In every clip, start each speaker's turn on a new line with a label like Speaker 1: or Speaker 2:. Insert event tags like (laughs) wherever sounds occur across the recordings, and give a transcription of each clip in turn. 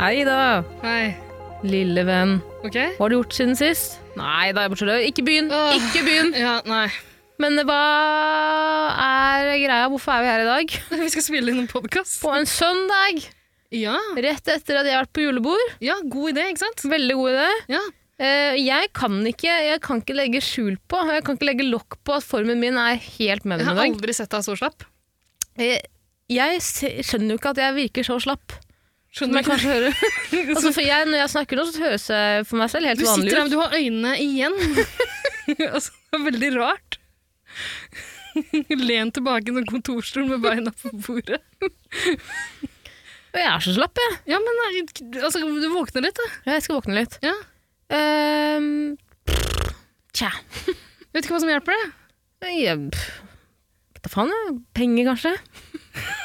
Speaker 1: Hei da,
Speaker 2: Hei.
Speaker 1: lille venn.
Speaker 2: OK?
Speaker 1: Hva har du gjort siden sist? Nei da, bortsett fra Ikke begynn!
Speaker 2: Åh.
Speaker 1: Ikke begynn!
Speaker 2: Ja, nei.
Speaker 1: Men hva er greia? Hvorfor er vi her i dag?
Speaker 2: Vi skal spille inn en podkast.
Speaker 1: På en søndag!
Speaker 2: Ja.
Speaker 1: Rett etter at jeg har vært på julebord.
Speaker 2: ja, god idé, ikke sant?
Speaker 1: Veldig god idé.
Speaker 2: Ja.
Speaker 1: Eh, Jeg kan ikke, jeg kan ikke legge skjul på, og jeg kan ikke legge lokk på at formen min er helt med
Speaker 2: Jeg
Speaker 1: den i
Speaker 2: har
Speaker 1: dag.
Speaker 2: aldri sett deg så slapp.
Speaker 1: Eh, Jeg se- skjønner jo ikke at jeg virker så slapp. Som jeg
Speaker 2: Skjønner (laughs) du ikke?
Speaker 1: kanskje hører. altså for jeg, når jeg snakker nå, så høres jeg for meg selv helt
Speaker 2: Du
Speaker 1: vanlig
Speaker 2: sitter her,
Speaker 1: ut.
Speaker 2: men du har øynene (laughs) igjen. altså, det er veldig rart. (laughs) Len tilbake i en kontorstol med beina på bordet.
Speaker 1: Og jeg er så slapp, jeg.
Speaker 2: Ja, men nei, altså, du våkner litt, da.
Speaker 1: Ja, Jeg skal våkne litt.
Speaker 2: Ja.
Speaker 1: Ehm, pff, tja.
Speaker 2: Vet ikke hva som hjelper deg. (laughs)
Speaker 1: Jeg, pff, vet da faen, jeg. Penger, kanskje?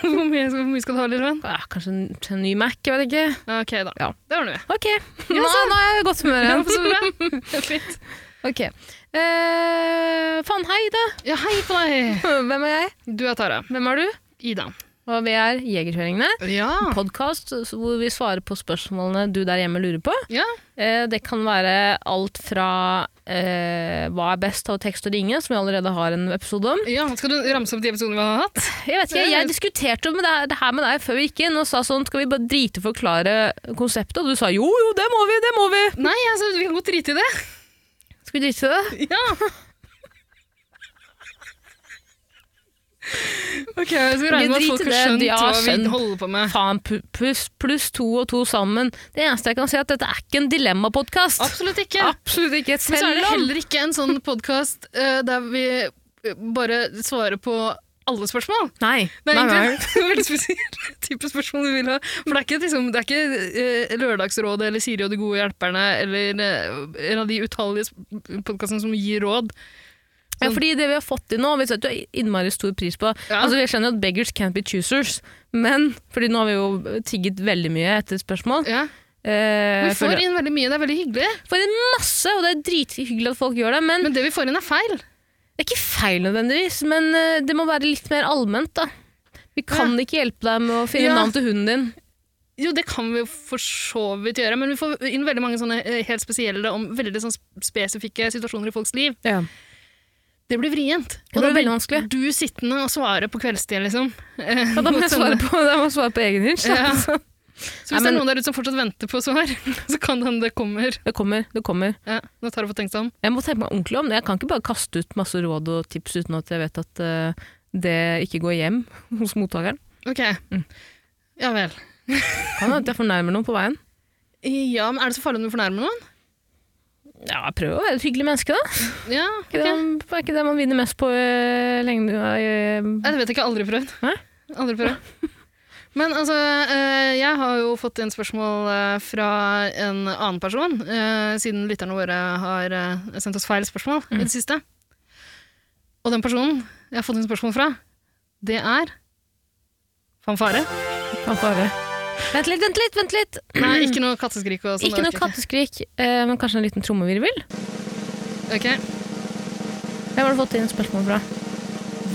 Speaker 2: Hvor mye, hvor mye skal du ha, lille venn?
Speaker 1: Ja, kanskje en, en ny Mac, jeg vet ikke.
Speaker 2: Ja, OK, da.
Speaker 1: (laughs) Ja.
Speaker 2: Det ordner vi.
Speaker 1: Ok, sånn. nå, nå er jeg i godt humør (laughs)
Speaker 2: Ja,
Speaker 1: igjen.
Speaker 2: så (laughs) bra. Det er Fint.
Speaker 1: Ok. Eh, faen, hei (laughs) da.
Speaker 2: Ja, hei på deg.
Speaker 1: Hvem er jeg?
Speaker 2: Du er Tara.
Speaker 1: Hvem er du?
Speaker 2: Ida.
Speaker 1: Og vi er Jegerkjøringene.
Speaker 2: Ja.
Speaker 1: Ah. Podkast hvor vi svarer på spørsmålene du der hjemme lurer på.
Speaker 2: ja.
Speaker 1: Eh, Det kan være alt fra eh, hva er best av tekst og ringe, som vi allerede har en episode om.
Speaker 2: Ja, Skal du ramse opp de episodene vi har hatt?
Speaker 1: Jeg vet ikke, jeg diskuterte med det her- det her med deg før vi gikk inn og sa sånn, skal vi bare drite og forklare konseptet? Og du sa jo, jo, det må vi, det må vi!
Speaker 2: Nei, altså, vi kan godt drite i det.
Speaker 1: Skal vi drite i det?
Speaker 2: Ja. Ok, jeg skal regne med at
Speaker 1: drit i
Speaker 2: folk har
Speaker 1: det.
Speaker 2: skjønt
Speaker 1: De har
Speaker 2: hva
Speaker 1: skjønt.
Speaker 2: vi holder på med.
Speaker 1: (laughs) Faen, pu- pluss plus to og to sammen. Det eneste jeg kan si er at dette er ikke en dilemmapodkast.
Speaker 2: Absolutt ikke.
Speaker 1: Absolutt ikke.
Speaker 2: Men så er det
Speaker 1: Selv om-
Speaker 2: heller ikke en sånn podkast der vi eh, bare svarer på alle spørsmål.
Speaker 1: Nei.
Speaker 2: Det er
Speaker 1: nei, nei.
Speaker 2: egentlig (laughs) en veldig spesiell type spørsmål vi vil ha. For det er ikke, liksom, det er ikke eh, Lørdagsrådet eller Siri og de gode hjelperne eller eh, en av de utallige podkastene som gir råd.
Speaker 1: Ja, fordi det vi har fått til nå, vi setter jo innmari stor pris på.
Speaker 2: Ja.
Speaker 1: Altså, Vi skjønner jo at beggars can't be choosers, men fordi nå har vi jo tigget veldig mye etter spørsmål.
Speaker 2: Ja.
Speaker 1: Eh,
Speaker 2: Vi får
Speaker 1: for,
Speaker 2: inn veldig mye, det er veldig hyggelig.
Speaker 1: får inn masse, og det er drithyggelig at folk gjør det, men,
Speaker 2: Men det vi får inn, er feil.
Speaker 1: det er ikke feil nødvendigvis. Men eh, det må være litt mer allment, da. Vi kan ikke hjelpe deg med å finne
Speaker 2: Ja.
Speaker 1: navn til hunden din.
Speaker 2: Jo, det kan vi jo for så vidt gjøre, men vi får inn veldig mange sånne eh, helt spesielle om veldig sånn spesifikke situasjoner i folks liv. Det blir vrient.
Speaker 1: Det blir
Speaker 2: da
Speaker 1: veldig vanskelig.
Speaker 2: Du sittende og svare på kveldstid, liksom.
Speaker 1: Ja, da må jeg svare på, da må jeg svare på egen hinsj. da.
Speaker 2: Ja. Så hvis
Speaker 1: Nei,
Speaker 2: det
Speaker 1: men-
Speaker 2: er noen der ute som fortsatt venter på svar, (laughs) så kan det hende det kommer.
Speaker 1: Det kommer. det kommer.
Speaker 2: Ja, nå tar jeg for tenkt seg om.
Speaker 1: Jeg må tenke meg ordentlig om det. Jeg kan ikke bare kaste ut masse råd og tips uten at jeg vet at eh, det ikke går hjem (laughs) hos mottakeren.
Speaker 2: Ok.
Speaker 1: Mm.
Speaker 2: Ja vel.
Speaker 1: Kan hende at jeg fornærmer noen på veien.
Speaker 2: Ja, men er det så farlig om du fornærmer noen?
Speaker 1: Ja, jeg prøver å være et hyggelig menneske, da.
Speaker 2: Ja,
Speaker 1: Ikke
Speaker 2: ok.
Speaker 1: det, er ikke det man vinner mest på uh, lengde
Speaker 2: Nei, det vet jeg ikke. Aldri prøvd.
Speaker 1: Hæ?
Speaker 2: Aldri prøvd. Men altså, eh, jeg har jo fått inn spørsmål eh, fra en annen person, eh, siden lytterne våre har eh, sendt oss feil spørsmål i
Speaker 1: Mm.
Speaker 2: det siste. Og den personen jeg har fått inn spørsmål fra, det er Fanfare.
Speaker 1: Man får høre. Vent litt, vent litt! vent litt.
Speaker 2: Nei, ikke noe katteskrik og sånn.
Speaker 1: Ikke noe katteskrik, eh, men kanskje en liten trommevirvel?
Speaker 2: Ok.
Speaker 1: Hvem har du fått inn spørsmål fra?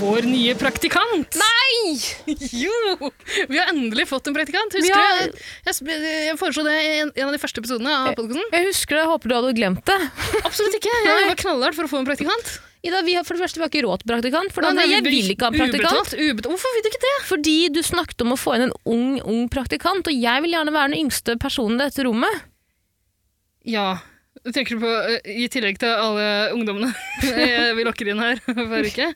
Speaker 2: Vår nye praktikant!
Speaker 1: Nei!
Speaker 2: (laughs) Jo! Vi har endelig fått en praktikant. Husker
Speaker 1: Vi har- Eh,
Speaker 2: du? Jeg, sp- jeg foreslo det i en en av de første episodene av podkasten.
Speaker 1: Jeg husker det, jeg håper du hadde glemt det.
Speaker 2: Absolutt ikke. Jeg var knallhardt for å få en praktikant.
Speaker 1: Ida, vi har, for det første, vi har ikke råd til praktikant. For det
Speaker 2: Nei,
Speaker 1: andre,
Speaker 2: nei,
Speaker 1: jeg
Speaker 2: vi-
Speaker 1: vil ikke ha praktikant.
Speaker 2: ubetalt, ubetalt. Hvorfor vil du ikke det?
Speaker 1: Fordi du snakket om å få inn en ung, ung praktikant, og jeg vil gjerne være den yngste personen i dette rommet.
Speaker 2: Ja. Tenker du på, eh, I tillegg til alle ungdommene (laughs) eh, vi lokker inn her (laughs) hver uke?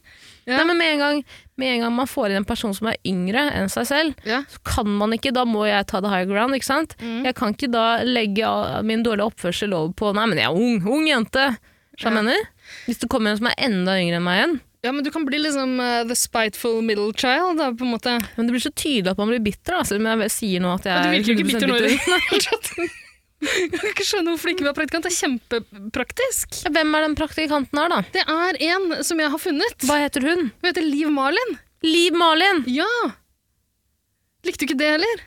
Speaker 2: Ja.
Speaker 1: Nei, men med en, gang, med en gang man får inn en person som er yngre enn seg selv,
Speaker 2: Ja.
Speaker 1: så kan man ikke, da må jeg ta the high ground, ikke sant?
Speaker 2: Mm.
Speaker 1: Jeg kan ikke da legge av min dårlige oppførsel over på, nei, men jeg er ung, ung jente, som jeg mener. Hvis det kommer en som er enda yngre enn meg igjen,
Speaker 2: Ja, men du kan bli liksom eh, the spiteful middle child, da, på en måte.
Speaker 3: Men det blir så tydelig at man blir bitter, da, selv om jeg sier nå at jeg
Speaker 2: Ja, du
Speaker 3: er
Speaker 2: virker ikke bitter
Speaker 3: 100%
Speaker 2: nå i det (laughs) hele tatt. Jeg kan ikke skjønne hvorfor det ikke var praktikant. Det er kjempepraktisk.
Speaker 3: Ja, Hvem er den praktikanten her, da?
Speaker 2: Det er en som jeg har funnet.
Speaker 3: Hva heter hun?
Speaker 2: Hun heter Liv Marlin.
Speaker 3: Liv Malin!
Speaker 2: Ja! Likte du ikke det heller?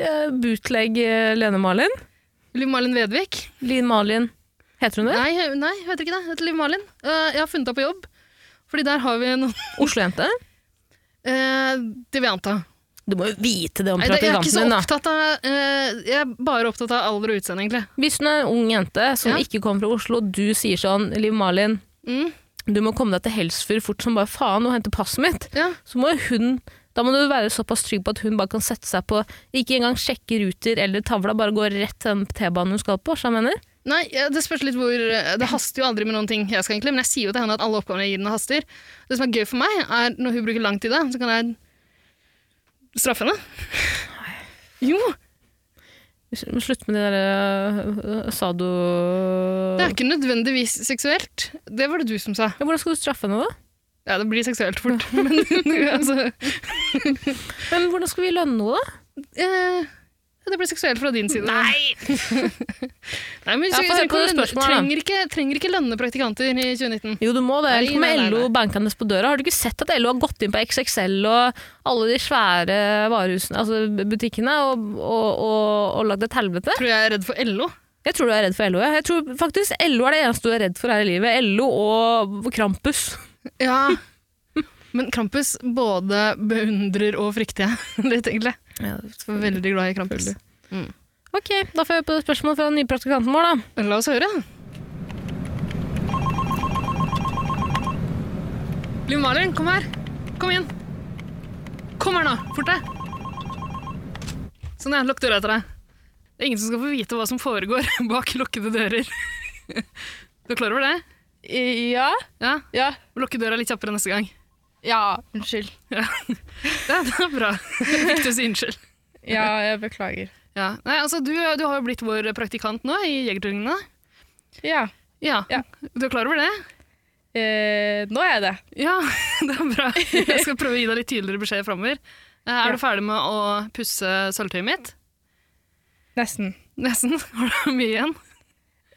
Speaker 3: Eh, Bootleg eh, Lene Malin.
Speaker 2: Liv Marlin Vedvik?
Speaker 3: Liv Malin. Heter hun det?
Speaker 2: Nei, nei, jeg heter ikke det. Jeg heter Liv Marlin. Eh, Jeg har funnet henne på jobb. Fordi der har vi noen
Speaker 3: Oslo-jente?
Speaker 2: eh, Det vil jeg anta.
Speaker 3: Du må jo vite det om
Speaker 2: Nei, det, jeg er ikke
Speaker 3: praktikanten
Speaker 2: så
Speaker 3: din, da.
Speaker 2: opptatt av eh, Jeg er bare opptatt av alder og utseende, egentlig.
Speaker 3: Hvis hun er en ung jente
Speaker 2: Ja.
Speaker 3: som ikke kommer fra Oslo, og du sier sånn Liv Malin,
Speaker 2: Mm,
Speaker 3: du må komme deg til Helsfyr fort som bare faen og hente passet mitt,
Speaker 2: ja.
Speaker 3: så må jo hun da må du være såpass trygg på at hun bare kan sette seg på Ikke engang sjekke ruter eller tavla, bare gå rett til den T-banen hun skal på. skjønner du hva jeg mener?
Speaker 2: Nei, eh, det spørs litt hvor eh, Det haster jo aldri med noen ting, jeg skal egentlig, men jeg sier jo til henne at alle oppgavene jeg gir henne, haster. Det som er gøy for meg, er når hun bruker lang tid, da, så kan jeg straffe henne. Jo,
Speaker 3: Sl- Slutt med det der øh, sado...
Speaker 2: det er ikke nødvendigvis seksuelt. Det var det du som sa.
Speaker 3: Ja, hvordan skal du straffe henne, da?
Speaker 2: Ja, det blir seksuelt fort, (laughs) men altså
Speaker 3: Men hvordan skal vi lønne henne, da?
Speaker 2: eh, Det blir seksuelt fra din side. (laughs)
Speaker 3: Nei!
Speaker 2: Nei men
Speaker 3: Ja,
Speaker 2: så,
Speaker 3: få høre
Speaker 2: trenger,
Speaker 3: på det spørsmålet, da.
Speaker 2: trenger, ikke, trenger ikke lønne praktikanter i 2019.
Speaker 3: Jo, du må det.
Speaker 2: Nei,
Speaker 3: Eller
Speaker 2: nei, nei,
Speaker 3: med
Speaker 2: nei.
Speaker 3: LO bankende på døra. Har du ikke sett at LO har gått inn på XXL og alle de svære varehusene, altså butikkene, og, og, og, og lagd et helvete?
Speaker 2: Tror jeg er redd for LO.
Speaker 3: Jeg tror du er redd for LO. Jeg, jeg tror faktisk LO er det eneste du er redd for her i livet. LO og Krampus.
Speaker 2: Ja. (laughs) Men Krampus både beundrer og frykter jeg (laughs) litt, egentlig. Veldig glad i Krampus.
Speaker 3: Ok, da får jeg på spørsmål fra den nye praktikanten vår, da.
Speaker 2: La oss høre. Liv Malin, kom her. Kom igjen. Kom her nå, fort deg. Sånn, ja. Lukk døra etter deg. Det er ingen som skal få vite hva som foregår (laughs) bak lukkede dører. (laughs) Du er klar over det?
Speaker 1: Ja.
Speaker 2: Ja?
Speaker 1: Ja.
Speaker 2: Lukke døra litt kjappere neste gang. (laughs)
Speaker 1: Ja, unnskyld.
Speaker 2: Ja, det er bra. Viktig å si unnskyld.
Speaker 1: Ja, jeg beklager.
Speaker 2: Ja. Nei, altså, du, du har jo blitt vår praktikant nå i Jegertvillingene.
Speaker 1: Ja.
Speaker 2: Ja.
Speaker 1: Ja.
Speaker 2: Du er klar over det?
Speaker 1: Eh, nå er jeg det.
Speaker 2: Ja, (laughs) det er bra. Jeg skal prøve å gi deg litt tydeligere beskjed framover. Eh,
Speaker 1: Ja.
Speaker 2: Er du ferdig med å pusse sølvtøyet mitt?
Speaker 1: Nesten.
Speaker 2: Nesten. (laughs) Har du mye igjen?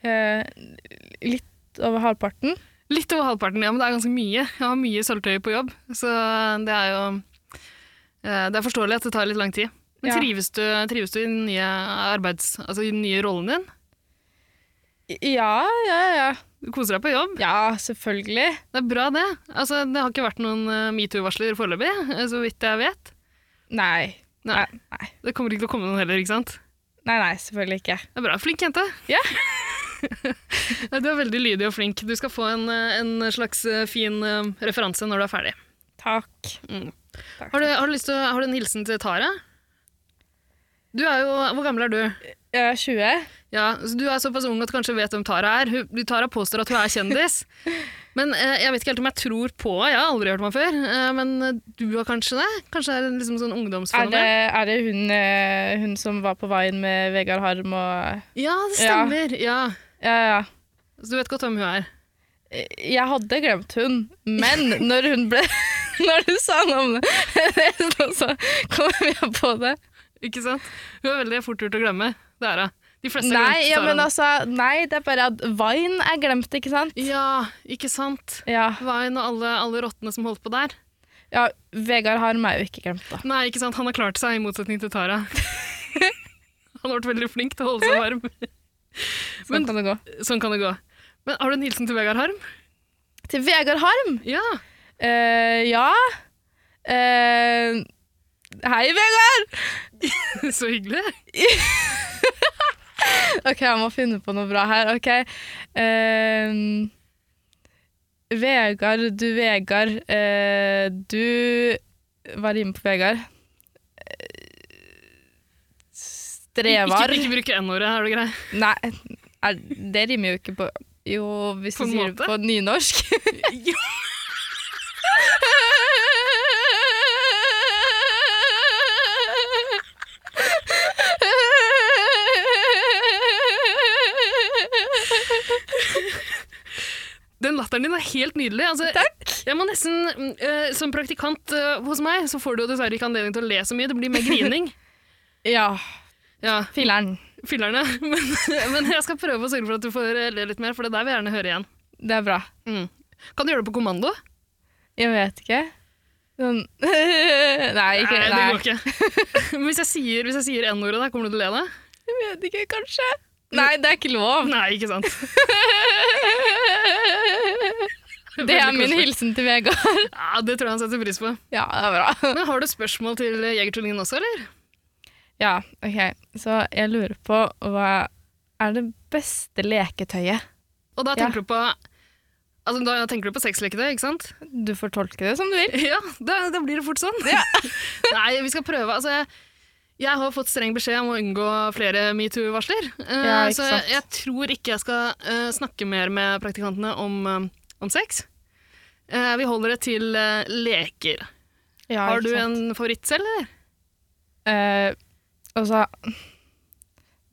Speaker 1: Eh, litt over halvparten.
Speaker 2: Litt over halvparten, ja, men det er ganske mye. Jeg har mye sølvtøy på jobb, så det er jo eh, Det er forståelig at det tar litt lang tid. Men
Speaker 1: Ja.
Speaker 2: trives, du, trives du i den nye, arbeids, altså i den nye rollen din?
Speaker 1: Ja, ja, ja.
Speaker 2: Du koser deg på jobb?
Speaker 1: Ja, selvfølgelig.
Speaker 2: Det er bra, det. Altså, det har ikke vært noen eh, metoo-varsler foreløpig, eh, så vidt jeg vet.
Speaker 1: Nei.
Speaker 2: Nei.
Speaker 1: Nei,
Speaker 2: Det kommer ikke til å komme noen heller, ikke sant?
Speaker 1: nei, nei selvfølgelig ikke.
Speaker 2: Det er bra. Flink jente. (laughs)
Speaker 1: Ja.
Speaker 2: du er veldig lydig og flink. Du skal få en, eh, en slags eh, fin eh, referanse når du er ferdig.
Speaker 1: Takk.
Speaker 2: Mm.
Speaker 1: Takk.
Speaker 2: Har du, har, du lyst til, å- har du en hilsen til Tara? Du er jo, Hvor gammel er du?
Speaker 1: Jeg er 20.
Speaker 2: Ja, så Du er såpass ung at du kanskje vet hvem Tara er. Hun, Tara påstår at hun er
Speaker 1: (laughs)
Speaker 2: kjendis. Men eh, Jeg vet ikke helt om jeg tror på henne. Jeg har aldri hørt meg før. Eh, men eh, du har kanskje det? Kanskje det er en liksom sånn
Speaker 1: Er det,
Speaker 2: ungdomsfenomen?
Speaker 1: er det hun, eh, hun som var på veien med Vegard Harm og
Speaker 2: Ja, det stemmer. Ja.
Speaker 1: Ja, ja.
Speaker 2: Så du vet godt hvem hun er?
Speaker 1: Jeg hadde glemt hun, men når hun ble (laughs) Når du sa navnet, (laughs) så kom jeg på det.
Speaker 2: Ikke sant? Hun er veldig fort gjort å glemme. Det er hun. De fleste har
Speaker 1: Nei,
Speaker 2: glemt
Speaker 1: ja,
Speaker 2: Tara
Speaker 1: men
Speaker 2: nå.
Speaker 1: altså, nei, det er bare at Vine er glemt, ikke sant?
Speaker 2: Ja, ikke sant?
Speaker 1: Ja,
Speaker 2: Vine og alle, alle rottene som holdt på der.
Speaker 1: ja Vegard Harm er jo ikke glemt, da.
Speaker 2: Nei, ikke sant? Han har klart seg, i motsetning til Tara.
Speaker 1: (laughs)
Speaker 2: Han har vært veldig flink til å holde seg varm.
Speaker 1: Sånn kan det gå.
Speaker 2: Sånn kan det gå. Men Har du en hilsen til Vegard Harm?
Speaker 1: Til Vegard Harm!
Speaker 2: Ja. (laughs)
Speaker 1: Eh, ja Eh, Hei, Vegard!
Speaker 2: Så hyggelig.
Speaker 1: OK, jeg må finne på noe bra her. OK. Eh, Vegard, du Vegard. eh, du Hva rimer på Vegard? Eh, Strevar.
Speaker 2: Ikke, ikke bruke N-ordet, er du grei?
Speaker 1: Nei, er, det rimer jo ikke på Jo, hvis
Speaker 2: På
Speaker 1: du
Speaker 2: en
Speaker 1: sier det
Speaker 2: måte.
Speaker 1: på
Speaker 2: (laughs)
Speaker 1: nynorsk.
Speaker 2: Den latteren din er helt nydelig. Altså,
Speaker 1: Takk.
Speaker 2: Jeg må nesten, mm, eh, Som praktikant eh, hos meg så får du jo dessverre ikke anledning til å le så mye. Det blir mer
Speaker 1: (laughs)
Speaker 2: grining.
Speaker 1: Ja,
Speaker 2: ja,
Speaker 1: filler'n.
Speaker 2: fyllerne. (laughs) Men, men jeg skal prøve å sørge for at du får eh, le litt mer, for det der vil jeg gjerne høre igjen.
Speaker 1: Det er bra.
Speaker 2: Mm. Kan du gjøre det på kommando?
Speaker 1: Jeg vet ikke. Sånn (laughs) Nei, ikke
Speaker 2: nei,
Speaker 1: nei.
Speaker 2: det går ikke. Men (laughs) hvis jeg sier, hvis jeg sier N-ordet, da kommer du til å le deg?
Speaker 1: Jeg vet ikke, kanskje. Nei, det er ikke
Speaker 2: (laughs)
Speaker 1: lov.
Speaker 2: Nei, ikke sant.
Speaker 1: (laughs) Det er
Speaker 2: Veldig
Speaker 1: min
Speaker 2: koselig.
Speaker 1: hilsen til Vegard.
Speaker 2: Ja, Det tror jeg han setter pris på.
Speaker 1: Ja, det er bra. (laughs)
Speaker 2: Men Har du spørsmål til eh, Jegertvillingen også, eller?
Speaker 1: Ja, ok. Så jeg lurer på hva er det beste leketøyet?
Speaker 2: Og da
Speaker 1: Ja.
Speaker 2: tenker du på Altså, da tenker du på sexleketøy, ikke sant?
Speaker 1: Du får tolke det som du vil.
Speaker 2: (laughs) Ja, da, da blir det fort sånn. (laughs) Nei, vi skal prøve. Altså, jeg, jeg har fått streng beskjed om å unngå flere metoo-varsler. Eh,
Speaker 1: Ja, ikke
Speaker 2: så jeg,
Speaker 1: sant.
Speaker 2: jeg tror ikke jeg skal eh, snakke mer med praktikantene om, eh, om sex. Eh, vi holder det til eh, leker.
Speaker 1: Ja,
Speaker 2: Har
Speaker 1: ikke
Speaker 2: du
Speaker 1: sant.
Speaker 2: en favoritt selv, eller?
Speaker 1: Eh, altså,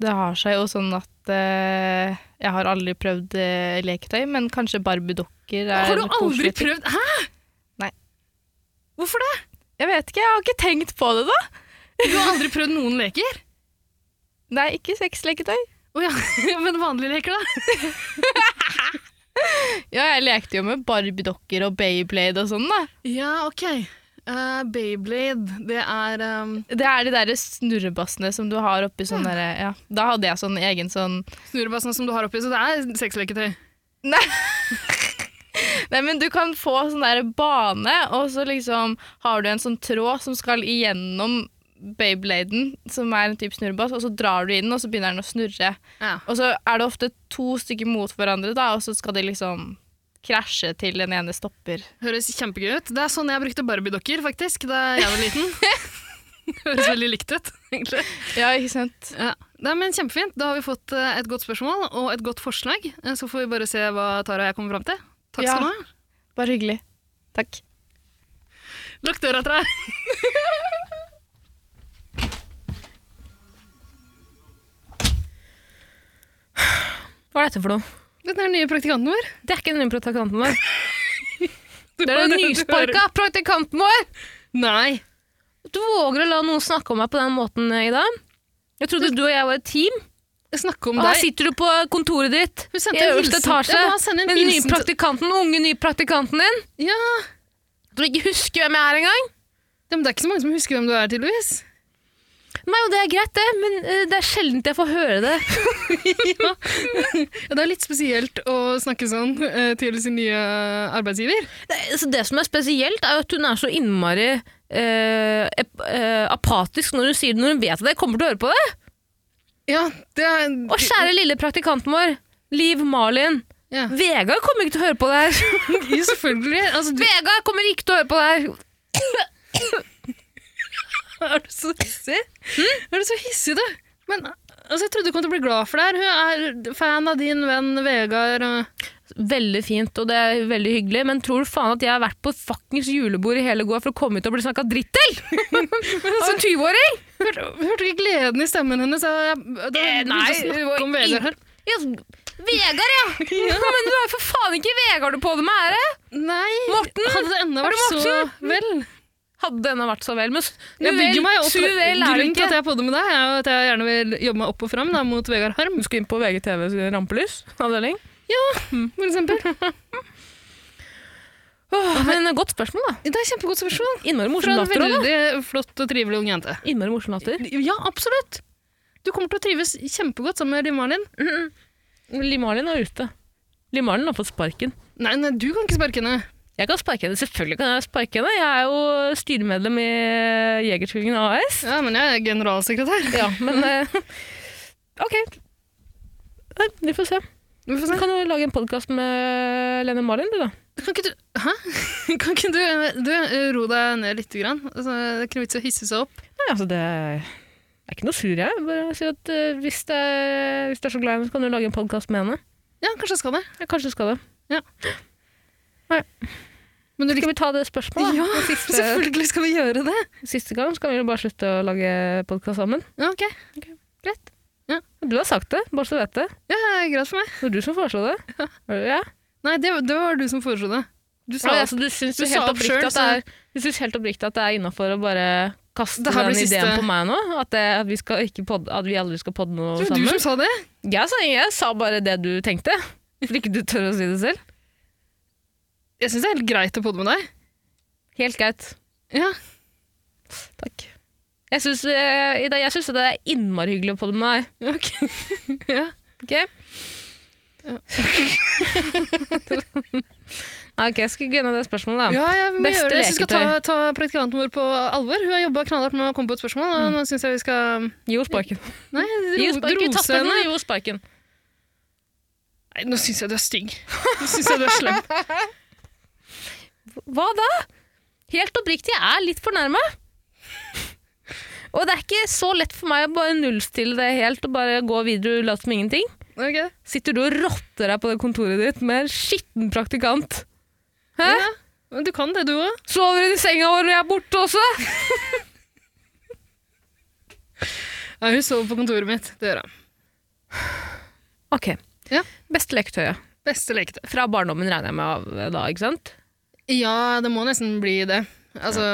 Speaker 1: det har seg jo sånn at eh, jeg har aldri prøvd eh, leketøy, men kanskje Barbie-dokker er
Speaker 2: Har du
Speaker 1: en koselig
Speaker 2: aldri
Speaker 1: ting.
Speaker 2: prøvd Hæ?
Speaker 1: Nei.
Speaker 2: Hvorfor det?
Speaker 1: Jeg vet ikke, jeg har ikke tenkt på det da.
Speaker 2: Du har aldri prøvd noen leker?
Speaker 1: Nei, ikke sexleketøy.
Speaker 2: Å ja, (laughs) men vanlige leker, da?
Speaker 1: Ja, jeg lekte jo med Barbie-dokker og Beyblade og sånn da.
Speaker 2: Ja, OK. Eh, Beyblade, det er um,
Speaker 1: Det er de der snurrebassene som du har oppi sånn derre ja. Da hadde jeg sånn egen sånn
Speaker 2: snurrebassen som du har oppi, så det er sexleketøy.
Speaker 1: Nei, men du kan få sånn der bane, og så liksom har du en sånn tråd som skal igjennom Beybladen, som er en type snurrebass, og så drar du i den, og så begynner den å snurre.
Speaker 2: Ja.
Speaker 1: Og så er det ofte to stykker mot hverandre, da, og så skal de liksom krasje til den ene stopper.
Speaker 2: Høres kjempegøy ut. Det er sånn jeg brukte Barbie-dokker, faktisk, da jeg var (laughs) liten. Høres veldig likt ut, egentlig.
Speaker 1: Ja, ikke sant?
Speaker 2: Ja. Nei, men kjempefint. Da har vi fått eh, et godt spørsmål og et godt forslag. Eh, Så får vi bare se hva Tara og jeg kommer fram til. Takk
Speaker 1: Ja.
Speaker 2: skal du ha.
Speaker 1: Bare hyggelig. Takk.
Speaker 2: Lukk døra etter deg.
Speaker 3: Hva er dette for noe?
Speaker 2: Dette er den nye praktikanten vår.
Speaker 3: Det er ikke den nye praktikanten
Speaker 2: (laughs)
Speaker 3: vår.
Speaker 2: Du
Speaker 3: Det er den nysparka praktikanten vår!
Speaker 2: Nei.
Speaker 3: Du våger å la noen snakke om meg på den måten, eh, Ida. Jeg trodde du og jeg var et team.
Speaker 2: Snakke om
Speaker 3: Og her
Speaker 2: deg.
Speaker 3: sitter du på kontoret ditt
Speaker 2: Hun sendte
Speaker 3: i
Speaker 2: en
Speaker 3: øverste
Speaker 2: hilsen.
Speaker 3: etasje
Speaker 2: Ja, send en
Speaker 3: med den nye
Speaker 2: hilsen til-
Speaker 3: praktikanten, den unge nye praktikanten din.
Speaker 2: Ja.
Speaker 3: Tror du ikke husker hvem jeg er engang?
Speaker 2: ja, men det er ikke så mange som husker hvem du er, tydeligvis. (laughs)
Speaker 3: Nei, jo, det er greit, det, men eh, det er sjelden jeg får høre det.
Speaker 2: Ja, det er litt spesielt å snakke sånn eh, til sin nye arbeidsgiver.
Speaker 3: Det, så det som er spesielt, er jo at hun er så innmari eh, ep- eh, apatisk når hun sier det, når hun vet at jeg kommer til å høre på det.
Speaker 2: Ja, det er
Speaker 3: Og kjære lille praktikanten vår, Liv Malin.
Speaker 2: (laughs) Ja.
Speaker 3: Vegard kommer ikke til å høre på det her.
Speaker 2: Jo, selvfølgelig. Altså, du
Speaker 3: (laughs) Vegard kommer ikke til å høre på det her.
Speaker 2: (laughs) er du så hissig. Er du så hissig, du? Men altså, jeg trodde du kom til å bli glad for det her. Hun er fan av din venn Vegard. Og...
Speaker 3: Veldig fint, og det er veldig hyggelig, men tror du faen at jeg har vært på fuckings julebord i hele går for å komme ut og bli snakka dritt (laughs) til? Av en 20-åring?
Speaker 2: Hørte, hørte du ikke gleden i stemmen hennes? Jeg, det
Speaker 3: Eh,
Speaker 2: begynte å
Speaker 3: nei,
Speaker 2: snakke
Speaker 3: det var
Speaker 2: om Vegard her.
Speaker 3: Ja, Vegard, (laughs) ja! Men du er for faen ikke Vegard du på det med ære!
Speaker 2: Nei,
Speaker 3: Morten!
Speaker 2: hadde det ennå
Speaker 3: Er
Speaker 2: vært
Speaker 3: det
Speaker 2: så vel?
Speaker 3: Hadde denne vært så vel, men
Speaker 2: Jeg bygger meg opp. Grunnen til at
Speaker 3: jeg
Speaker 2: jeg er på det med deg, er jo at jeg gjerne vil jobbe meg opp og fram da, mot Vegard Harm,
Speaker 3: skal inn på VGTVs rampelys avdeling.
Speaker 2: for eksempel.
Speaker 3: men godt spørsmål, da.
Speaker 2: (laughs) Det er et kjempegodt spørsmål.
Speaker 3: Innmari
Speaker 2: Fra
Speaker 3: morsom
Speaker 2: en
Speaker 3: latter.
Speaker 2: veldig flott og trivelig ung jente.
Speaker 3: da. Innmari morsom latter.
Speaker 2: Ja, absolutt. Du kommer til å trives kjempegodt sammen med Liv Marlin.
Speaker 3: Limalin er ute. Limalin har fått sparken.
Speaker 2: Nei, nei, du kan ikke sparke henne.
Speaker 3: Jeg kan sparke henne, selvfølgelig kan jeg sparke henne. Jeg er jo styremedlem i Jegertvillingen AS.
Speaker 2: Ja, men jeg er generalsekretær.
Speaker 3: Ja, (laughs) men eh, ok. Nei, Vi får se.
Speaker 2: Vi får
Speaker 3: Du
Speaker 2: se.
Speaker 3: kan jo lage en podkast med Lene Malin, du da.
Speaker 2: Kan ikke du Hæ? (laughs) Kan ikke du, du eh, ro deg ned litt? Grann? Altså, det er ikke noe vits i å hisse seg opp.
Speaker 3: Nei, altså det er jeg er ikke noe sur, jeg. Bare sier at eh, hvis, det er, hvis det er så glad i henne, så kan du lage en podkast med henne.
Speaker 2: Ja, kanskje jeg skal det.
Speaker 3: Jeg kanskje skal det.
Speaker 2: Men du
Speaker 3: Skal
Speaker 2: likte
Speaker 3: vi ta det spørsmålet?
Speaker 2: Ja,
Speaker 3: da? Den siste,
Speaker 2: selvfølgelig skal vi gjøre det.
Speaker 3: siste gang så kan vi jo bare slutte å lage podkast sammen.
Speaker 2: Ja, ok.
Speaker 3: Greit.
Speaker 2: Ja.
Speaker 3: Du har sagt det, bare så du vet det.
Speaker 2: Ja, greit for meg.
Speaker 3: Det var du som foreslo det. Ja.
Speaker 2: Nei, det, det var du som foreslo det. Du
Speaker 3: Å,
Speaker 2: sa
Speaker 3: ja,
Speaker 2: opp.
Speaker 3: så du syns
Speaker 2: Du
Speaker 3: jo
Speaker 2: sa
Speaker 3: helt
Speaker 2: opp
Speaker 3: oppriktig
Speaker 2: selv,
Speaker 3: at det er, du syns helt oppriktig at det er innafor å bare kaste
Speaker 2: Det her
Speaker 3: den
Speaker 2: blir
Speaker 3: ideen
Speaker 2: siste-
Speaker 3: på meg nå? At, det, at, vi, skal ikke podde, at vi aldri skal podde noe
Speaker 2: Det var du
Speaker 3: sammen?
Speaker 2: som sa det.
Speaker 3: Jeg sa, jeg sa bare det du tenkte. Fordi ikke du tør å si det selv.
Speaker 2: Jeg syns det er helt greit å podde med deg.
Speaker 3: Helt greit.
Speaker 2: Ja.
Speaker 3: Takk. Jeg syns, eh, Ida, jeg syns det er innmari hyggelig å podde med deg.
Speaker 2: Ok. ja.
Speaker 3: Ok? Nei, (laughs) ok, jeg skal gunne det spørsmålet, da.
Speaker 2: Ja, jeg, må
Speaker 3: Beste
Speaker 2: gjøre det. jeg synes vi skal ta,
Speaker 3: leketøy.
Speaker 2: ta praktikanten vår på alvor. Hun har jobba knallhardt med å komme på et spørsmål, og nå syns jeg vi skal
Speaker 3: Gi henne sparken.
Speaker 2: Nei,
Speaker 3: Gi
Speaker 2: ro,
Speaker 3: henne sparken. Tatt
Speaker 2: rose
Speaker 3: henne,
Speaker 2: henne.
Speaker 3: gi henne sparken.
Speaker 2: Nei, nå syns jeg du er stygg. Nå syns jeg du (laughs) er slem.
Speaker 3: Hva da? Helt oppriktig, jeg er litt fornærma. Og det er ikke så lett for meg å bare nullstille det helt og bare gå videre og late som ingenting.
Speaker 2: Ok.
Speaker 3: Sitter du og rotter deg på det kontoret ditt med en skitten praktikant? Hæ?
Speaker 2: Ja. Men du kan det, du òg.
Speaker 3: Sover hun i senga vår når jeg er borte også?
Speaker 2: Ja, hun sover på kontoret mitt. Det gjør hun.
Speaker 3: Ok.
Speaker 2: Ja.
Speaker 3: Beste leketøyet.
Speaker 2: Beste leketøy.
Speaker 3: Fra barndommen regner jeg med av da, ikke sant?
Speaker 2: Ja, det må nesten bli det. Altså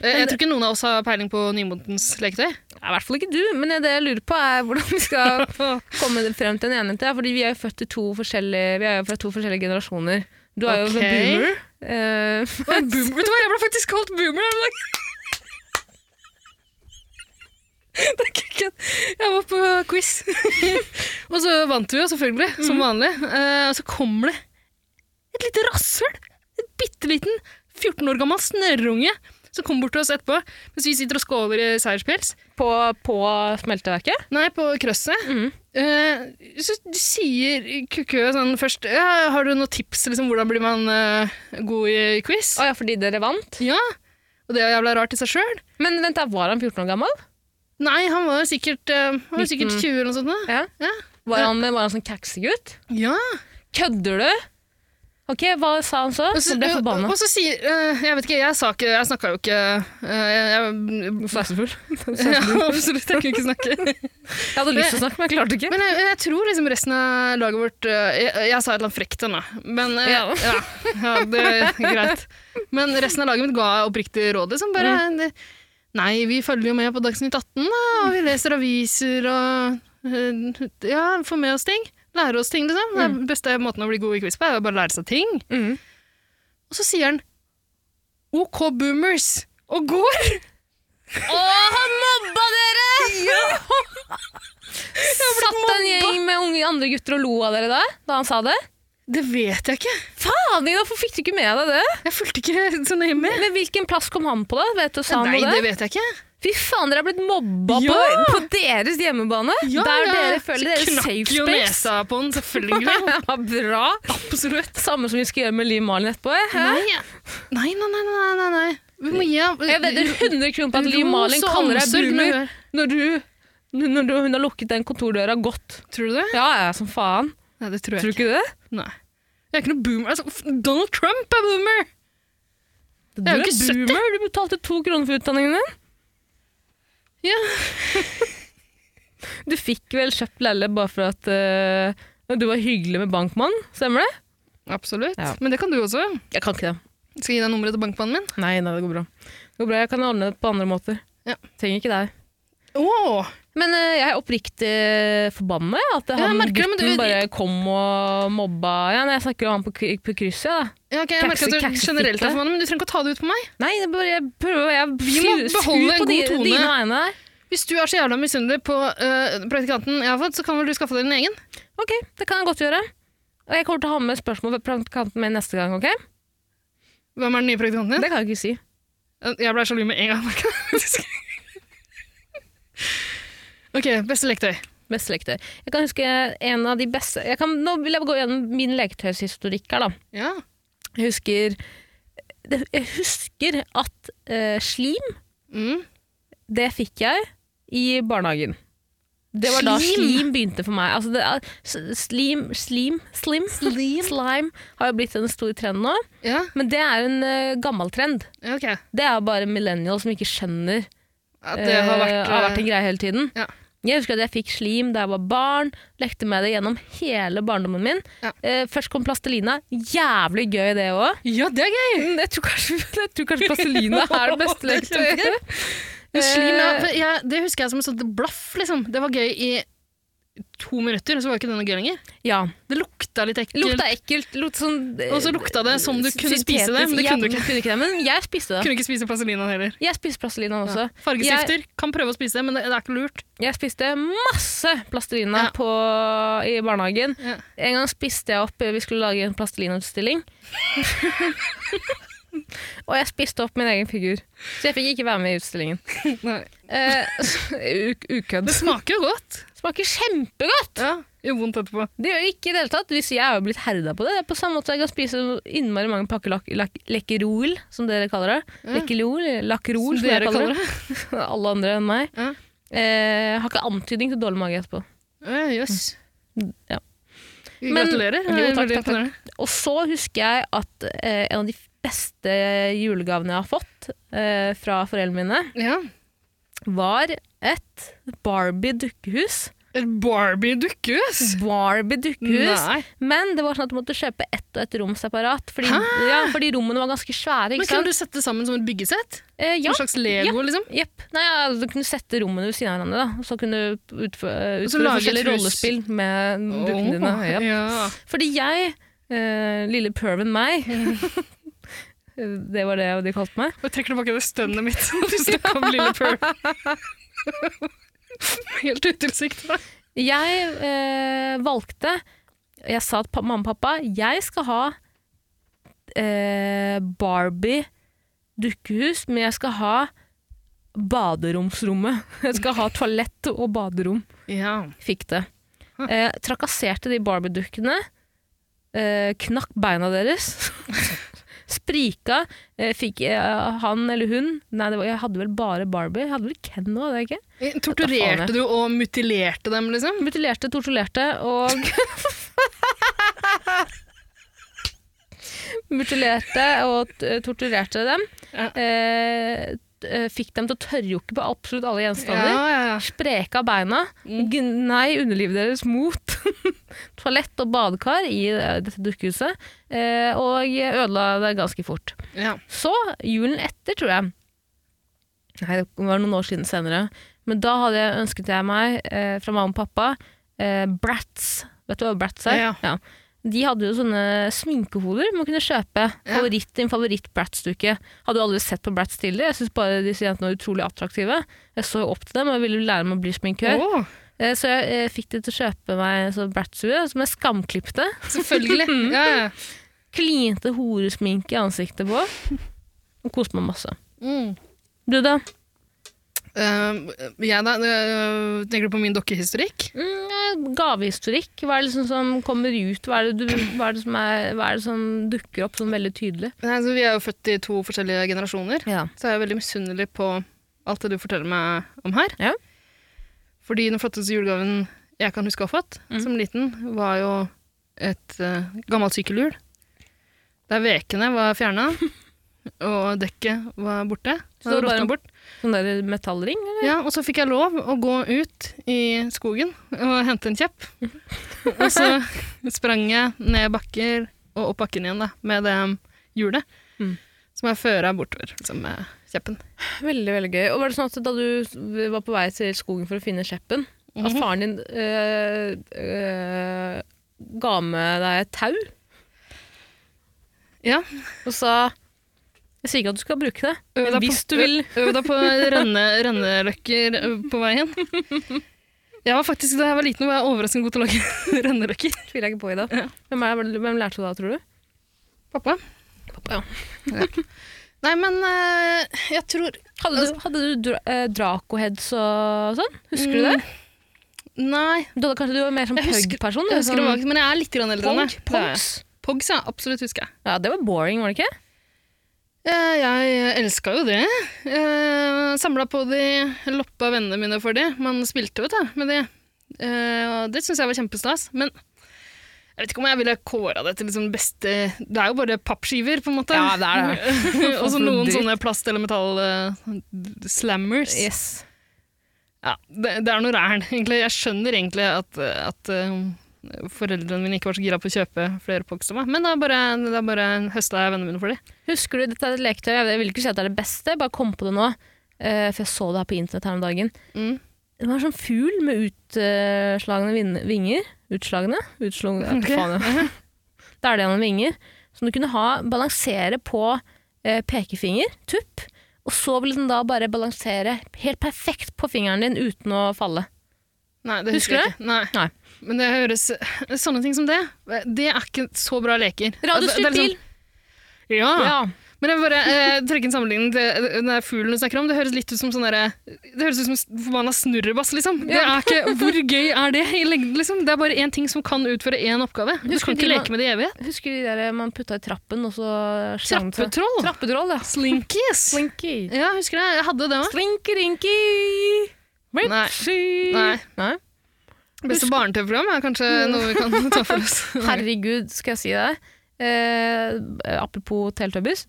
Speaker 2: Jeg, jeg tror ikke noen av oss har peiling på nymotens leketøy.
Speaker 3: Nei, I hvert fall ikke du, men det jeg lurer på er hvordan vi
Speaker 2: (laughs)
Speaker 3: skal komme frem til en enighet. her, Fordi vi er jo født i to forskjellige, vi er jo fra to forskjellige generasjoner. Du er jo
Speaker 2: Ok.
Speaker 3: en boomer. eh,
Speaker 2: Oi, boomer. Vet du hva, jeg ble faktisk kalt boomer her om dagen. Det er ikke kødd. Jeg var på quiz, (laughs) og så vant vi jo selvfølgelig, som vanlig. Eh, og så kommer det et lite rasshøl. En bitte liten 14 år gammel snørrunge som kommer bort til oss etterpå mens vi sitter og skåler i seierspils.
Speaker 3: på, på smelteverket.
Speaker 2: Nei, på krøsset.
Speaker 3: Mhm.
Speaker 2: Eh, så du sier kukø sånn først ja, Har du noen tips? Liksom, hvordan blir man eh, god i quiz?
Speaker 3: Å ja, fordi dere vant.
Speaker 2: Ja, og det er jævla rart i seg sjøl.
Speaker 3: Men vent, da, var han 14 år gammel?
Speaker 2: Nei, han var sikkert, eh, han var sikkert 20 eller noe sånt. Da.
Speaker 3: Ja.
Speaker 2: Ja.
Speaker 3: Var han, var han sånn kæksegutt?
Speaker 2: Ja.
Speaker 3: Kødder du? Ok, hva sa han så?
Speaker 2: Og så,
Speaker 3: Så ble jeg forbanna.
Speaker 2: og så sier eh, Jeg vet ikke, jeg, sa ikke- jeg snakka jo ikke eh, jeg,
Speaker 3: Fleisefull.
Speaker 2: jeg,
Speaker 3: Jeg
Speaker 2: (laughs) Absolutt, jeg kunne ikke snakke.
Speaker 3: hadde lyst til å snakke, men jeg klarte ikke.
Speaker 2: Men jeg, jeg tror liksom resten av laget vårt eh, Jeg, jeg sa et eller annet frekt til henne, men eh,
Speaker 3: Ja.
Speaker 2: ja. ja, det er greit. Men resten av laget mitt ga oppriktig råd. Liksom bare det, Nei, vi følger jo med på Dagsnytt 18, da, og vi leser aviser og eh, Ja, får med oss ting. Lære oss ting, liksom. Den beste måten å bli god i quiz på er å bare lære seg ting.
Speaker 3: Mm.
Speaker 2: Og så sier han OK, boomers, og går!
Speaker 3: Å, han mobba dere! (laughs) Satt en gjeng med unge andre gutter og lo av dere da, da han sa det?
Speaker 2: Det vet jeg ikke.
Speaker 3: Faen, Ida, hvorfor fikk du ikke med deg det?
Speaker 2: Jeg fulgte ikke så nøye med.
Speaker 3: Men hvilken plass kom han på, da? Vet du, sa han
Speaker 2: Nei,
Speaker 3: noe
Speaker 2: det
Speaker 3: der?
Speaker 2: vet jeg ikke.
Speaker 3: Fy faen, dere er blitt mobba
Speaker 2: Ja!
Speaker 3: på, på deres hjemmebane!
Speaker 2: Ja,
Speaker 3: der
Speaker 2: ja.
Speaker 3: dere føler
Speaker 2: Så
Speaker 3: deres safe
Speaker 2: Knakk jo
Speaker 3: space.
Speaker 2: nesa på den, selvfølgelig.
Speaker 3: (laughs) Ja, bra!
Speaker 2: Absolutt.
Speaker 3: Samme som vi skal gjøre med Liv Malin etterpå. eh? Hæ?
Speaker 2: Nei, nei, nei, nei, nei, nei, nei. Vi må gi ham
Speaker 3: Jeg vedder 100 kroner på at Liv
Speaker 2: Ros
Speaker 3: Malin
Speaker 2: og
Speaker 3: kaller deg
Speaker 2: omsorg når du
Speaker 3: boomer
Speaker 2: er-
Speaker 3: når, du, når du, hun har lukket den kontordøra godt.
Speaker 2: Tror du det?
Speaker 3: Ja, ja, som faen.
Speaker 2: Nei, det tror jeg
Speaker 3: Tror du
Speaker 2: ikke.
Speaker 3: ikke det?
Speaker 2: Nei. Jeg er ikke noe boomer. Altså, f- Donald Trump er boomer!
Speaker 3: Du
Speaker 2: Jeg er
Speaker 3: er
Speaker 2: jo ikke
Speaker 3: boomer, du betalte to kroner for utdanningen din.
Speaker 2: Ja.
Speaker 3: (laughs) Du fikk vel kjøpt leilighet bare for at eh, du var hyggelig med bankmann, stemmer det?
Speaker 2: Absolutt.
Speaker 3: Ja.
Speaker 2: Men det kan du også.
Speaker 3: Jeg kan ikke det.
Speaker 2: Skal jeg gi deg nummeret til bankmannen min?
Speaker 3: Nei, nei, det går bra. Det går bra, Jeg kan ordne det på andre måter.
Speaker 2: Ja.
Speaker 3: Trenger ikke deg.
Speaker 2: Åh!
Speaker 3: Men eh, jeg er oppriktig forbanna ja, at
Speaker 2: jeg
Speaker 3: han
Speaker 2: merker det, men
Speaker 3: gutten
Speaker 2: du-
Speaker 3: bare kom og mobba ja, nei, Jeg snakker jo om han på, kry- på krysset. Ja.
Speaker 2: Ja, ok, jeg merker at du
Speaker 3: Kakse-
Speaker 2: generelt er
Speaker 3: kaksefitte.
Speaker 2: for mange, men du trenger ikke å ta det ut på meg.
Speaker 3: Nei, det er bare, jeg prøver jeg
Speaker 2: Vi må
Speaker 3: sur- sur
Speaker 2: beholde en
Speaker 3: på
Speaker 2: god
Speaker 3: di-
Speaker 2: tone.
Speaker 3: Dine vegne der.
Speaker 2: Hvis du er så jævla misunnelig på øh, praktikanten jeg har fått, så kan vel du skaffe deg din egen?
Speaker 3: Ok, det kan jeg godt gjøre. Og jeg kommer til å ha med spørsmål ved praktikanten min neste gang, ok?
Speaker 2: Hvem er den nye praktikanten din?
Speaker 3: Det kan jeg ikke si.
Speaker 2: Jeg ble sjalu med en gang. merker jeg. (laughs) ok, beste lektøy.
Speaker 3: Beste leketøy. Jeg kan huske en av de beste jeg kan, Nå vil jeg gå gjennom min leketøyshistorikk her, da.
Speaker 2: Ja.
Speaker 3: Jeg husker, det- jeg husker at eh, slim,
Speaker 2: Mm.
Speaker 3: det fikk jeg i barnehagen. Det var da
Speaker 2: Slim?
Speaker 3: slim begynte for meg. Altså det, er- s- slim, slim, slim, slime har jo blitt en stor trend nå.
Speaker 2: Ja,
Speaker 3: Men det er jo en eh, gammel trend.
Speaker 2: ja, ok.
Speaker 3: Det er jo bare millennials som ikke skjønner
Speaker 2: At det har vært, eh,
Speaker 3: eh, har vært en greie hele tiden.
Speaker 2: ja.
Speaker 3: Jeg husker at jeg fikk slim da jeg var barn, lekte med det gjennom hele barndommen min.
Speaker 2: Ja.
Speaker 3: Eh, først kom plastelina. Jævlig gøy det òg.
Speaker 2: Ja, det er gøy!
Speaker 3: Jeg tror kanskje, jeg tror
Speaker 2: (laughs)
Speaker 3: kanskje plastelina er det beste
Speaker 2: Det er
Speaker 3: leketøyet.
Speaker 2: Men Slim, ja,
Speaker 3: Eh,
Speaker 2: for jeg, det husker jeg som et sånt blaff, liksom. Det var gøy i to minutter, og så var ikke det noe gøy lenger.
Speaker 3: ja.
Speaker 2: Det lukta litt ekkelt.
Speaker 3: Lukta ekkelt. Lukta sånn, eh,
Speaker 2: Og så lukta det som du kunne spise
Speaker 3: syntetisk.
Speaker 2: det, men det
Speaker 3: Ja,
Speaker 2: kunne du ikke.
Speaker 3: det, men jeg spiste det.
Speaker 2: Kunne ikke spise plastelina heller.
Speaker 3: Jeg spiste plastelina også.
Speaker 2: Ja. Fargestifter, kan prøve å spise det, men det, det er ikke lurt.
Speaker 3: Jeg spiste masse plastelina
Speaker 2: Ja.
Speaker 3: på, i barnehagen.
Speaker 2: Ja.
Speaker 3: En gang spiste jeg opp eh, Vi skulle lage en plastelinautstilling. (laughs) og jeg spiste opp min egen figur. Så jeg fikk ikke være med i utstillingen.
Speaker 2: (laughs) Nei.
Speaker 3: Eh, (laughs) så- u- ukødd.
Speaker 2: Det smaker jo godt.
Speaker 3: Smaker kjempegodt!
Speaker 2: Ja, Gjør vondt etterpå.
Speaker 3: Det gjør det ikke i det hele tatt. Hvis jeg er jo blitt herda på det. Det er på samme måte som jeg kan spise innmari mange pakker lak lak lekkerol, som dere kaller det.
Speaker 2: Ja.
Speaker 3: Lekkerol, lakrol,
Speaker 2: Som
Speaker 3: som dere
Speaker 2: dere kaller
Speaker 3: kaller det. (laughs) Alle andre enn meg.
Speaker 2: Ja.
Speaker 3: Eh, har ikke antydning til dårlig mage etterpå.
Speaker 2: Eh, Jøss.
Speaker 3: Mm, Ja. Men-
Speaker 2: Gratulerer. Det er
Speaker 3: Jo, takk,
Speaker 2: veldig
Speaker 3: takk, takk.
Speaker 2: imponerende.
Speaker 3: Og så husker jeg at eh, en av de beste julegavene jeg har fått eh, fra foreldrene mine,
Speaker 2: Ja.
Speaker 3: var et Barbie-dukkehus.
Speaker 2: Et Barbie-dukkehus?
Speaker 3: Barbie-dukkehus.
Speaker 2: Nei.
Speaker 3: Men det var sånn at du måtte kjøpe ett og ett rom separat, fordi,
Speaker 2: Hæ?
Speaker 3: ja, fordi rommene var ganske svære.
Speaker 2: Men
Speaker 3: Ikke
Speaker 2: Kunne du
Speaker 3: sant?
Speaker 2: sette det sammen som et byggesett?
Speaker 3: Eh, ja,
Speaker 2: Som en slags Lego, liksom?
Speaker 3: jepp. Nei, ja, altså, du kunne sette rommene ved siden av hverandre, da. og så kunne du utføre,
Speaker 2: Og så
Speaker 3: utføre
Speaker 2: lage et
Speaker 3: forskjellige
Speaker 2: hus.
Speaker 3: rollespill med dukkene dine.
Speaker 2: Åh,
Speaker 3: Mm, Ja.
Speaker 2: ja.
Speaker 3: Fordi jeg, eh, lille perven meg (laughs) Det var det de kalte meg.
Speaker 2: Jeg trekker tilbake det stønnet mitt (laughs) når du snakker om
Speaker 3: (laughs)
Speaker 2: lille Pearl. Helt utilsikta.
Speaker 3: Jeg eh, valgte Jeg sa til pa- mamma og pappa jeg skal ha eh, Barbie dukkehus, men jeg skal ha baderomsrommet. Jeg skal ha toalett og baderom.
Speaker 2: Ja.
Speaker 3: Fikk det. Eh, trakasserte de Barbie-dukkene. Eh, knakk beina deres. (laughs) Sprika. Eh, fikk eh, han eller hun Nei, det var, jeg hadde vel bare Barbie. Jeg hadde vel Ken nå, hadde jeg ikke? Hva faen,
Speaker 2: Eh, Torturerte du og mutilerte dem, liksom?
Speaker 3: Mutilerte, torturerte og (laughs) Mutilerte og t- eh, torturerte dem.
Speaker 2: Ja.
Speaker 3: Eh, t- eh, fikk dem til å tørrjokke på absolutt alle gjenstander.
Speaker 2: ja.
Speaker 3: Spreka beina. Gnei underlivet deres mot (laughs) toalett og badekar i eh, dette dukkehuset. Eh, og ødela det ganske fort.
Speaker 2: ja.
Speaker 3: Så, julen etter, tror jeg Nei, det var noen år siden senere. Men da hadde jeg ønsket jeg meg, eh, fra mamma og pappa, eh, Bratz. Vet du hva Bratz er?
Speaker 2: Ja.
Speaker 3: De hadde jo sånne sminkehoder man kunne kjøpe.
Speaker 2: Ja.
Speaker 3: Favoritt, din favoritt Bratz-duke. Hadde jo aldri sett på Bratz tidligere. Jeg syns bare disse jentene var utrolig attraktive. Jeg så jo opp til dem og jeg ville jo lære meg å bli sminkør.
Speaker 2: Åh,
Speaker 3: Eh, så jeg eh, fikk de til å kjøpe meg en sånn Bratz-hue som jeg skamklipte. (laughs)
Speaker 2: selvfølgelig. Ja, ja.
Speaker 3: Klinte horesminke i ansiktet på. Og koste meg masse.
Speaker 2: Mm.
Speaker 3: Du, da?
Speaker 2: Eh, jeg da, eh, tenker du på min dokkehistorikk?
Speaker 3: Mm, gavehistorikk. Hva er det liksom som kommer ut? Hva er det, du, hva er det, som, er, hva er det som dukker opp sånn veldig tydelig?
Speaker 2: Nei, altså, vi er jo født i to forskjellige generasjoner,
Speaker 3: Ja.
Speaker 2: så jeg er veldig misunnelig på alt det du forteller meg om her.
Speaker 3: Ja.
Speaker 2: Fordi den flotteste julegaven jeg kan huske å ha fått
Speaker 3: Mm.
Speaker 2: som liten, var jo et eh, gammelt sykkelhjul. Der vekene var fjerna,
Speaker 3: (laughs)
Speaker 2: og dekket var borte.
Speaker 3: Så det var
Speaker 2: Råtna
Speaker 3: bare en-
Speaker 2: bort.
Speaker 3: Sånn der metallring? Eller?
Speaker 2: Ja, og så fikk jeg lov å gå ut i skogen og hente en
Speaker 3: (laughs)
Speaker 2: kjepp. Og så sprang jeg ned bakker og opp bakken igjen da, med det hjulet.
Speaker 3: Mm.
Speaker 2: Som jeg føra bortover liksom, med kjeppen.
Speaker 3: Veldig, veldig gøy. Og var det sånn at da du var på vei til skogen for å finne kjeppen, at
Speaker 2: Mhm.
Speaker 3: faren din øh, øh, ga med deg et tau
Speaker 2: Ja.
Speaker 3: og sa Jeg sier ikke at du skal bruke Øh, det,
Speaker 2: Øv
Speaker 3: men
Speaker 2: deg på-
Speaker 3: hvis du vil
Speaker 2: Øv deg på renne, renneløkker ø, på veien. Jeg var faktisk, Da jeg var liten, var jeg overraskende god til å lage (laughs) renneløkker.
Speaker 3: Tviler jeg ikke på i dag.
Speaker 2: Ja.
Speaker 3: Hvem, er, hvem lærte du det av, tror du?
Speaker 2: Pappa?
Speaker 3: Pappa, ja.
Speaker 2: Nei, men ø, jeg tror
Speaker 3: Hadde du, hadde du dra eh, Dracoheads og sånn? Husker du det?
Speaker 2: Nei,
Speaker 3: Du hadde kanskje du var mer som
Speaker 2: Jeg husker-
Speaker 3: pug-person?
Speaker 2: jeg husker det var, men jeg er litt grann eldre enn
Speaker 3: sånn Pog,
Speaker 2: deg.
Speaker 3: Pogs.
Speaker 2: Pogs, ja. Absolutt husker jeg.
Speaker 3: Ja, det var boring, var det ikke?
Speaker 2: Eh, Jeg elska jo det. Samla på de, loppa vennene mine for de. Man spilte jo da, med de. Eh, og Det syns jeg var kjempestas. Men jeg vet ikke om jeg ville kåra det til liksom beste Det er jo bare pappskiver, på en måte.
Speaker 3: Ja, det er
Speaker 2: (laughs) Og så noen
Speaker 3: Dritt.
Speaker 2: eh, sånne plast- eller metall-slammers.
Speaker 3: Yes.
Speaker 2: Ja, det, det er noe ræl, egentlig. Jeg skjønner egentlig at, at eh, foreldrene mine ikke var så gira på å kjøpe flere Pokémon, til meg, men da bare, da bare høsta jeg vennene mine for dem.
Speaker 3: Husker du, dette er et leketøy, jeg vil ikke si at det er det beste, jeg bare kom på det nå, eh, for jeg så det her på internett her om dagen.
Speaker 2: Mm.
Speaker 3: Det var en sånn fugl med utslagne vin- vinger. Utslagene? Utslagene, ja,
Speaker 2: Ok.
Speaker 3: (laughs) faen ja. Da er det gjennom vinger. Som du kunne ha, balansere på eh, pekefinger, tupp, og så vil den da bare balansere helt perfekt på fingeren din uten å falle.
Speaker 2: Nei, det husker,
Speaker 3: Husker du
Speaker 2: jeg ikke. Nei.
Speaker 3: Nei.
Speaker 2: Men det høres Sånne ting som det, det er ikke så bra leker. Det- det er
Speaker 3: Radiostyrt bil!
Speaker 2: liksom- Ja.
Speaker 3: Ja.
Speaker 2: Men jeg vil bare eh, trekke en sammenligning til eh, den der fuglen du snakker om. Det høres litt ut som sånn derre- Det høres ut som en forbanna snurrebass, liksom. Det er ikke, hvor gøy er det i lengden, liksom? Det er bare én ting som kan utføre én oppgave. Du
Speaker 3: Husker
Speaker 2: kan
Speaker 3: du
Speaker 2: ikke
Speaker 3: de-
Speaker 2: leke med det i evighet.
Speaker 3: Husker du de der eh, man putta i trappen, og så slang den seg?
Speaker 2: Trappetroll!
Speaker 3: Trappetroll, ja.
Speaker 2: Slinkies!
Speaker 3: Slinky.
Speaker 2: Ja, husker jeg. Jeg hadde det òg.
Speaker 3: Slinky-rinky! Ripsy!
Speaker 2: Nei.
Speaker 3: Nei.
Speaker 2: Beste barne-TV-program er kanskje noe vi kan ta for
Speaker 3: (laughs)
Speaker 2: oss.
Speaker 3: Herregud, skal jeg si deg. Eh, apropos Teletubbies.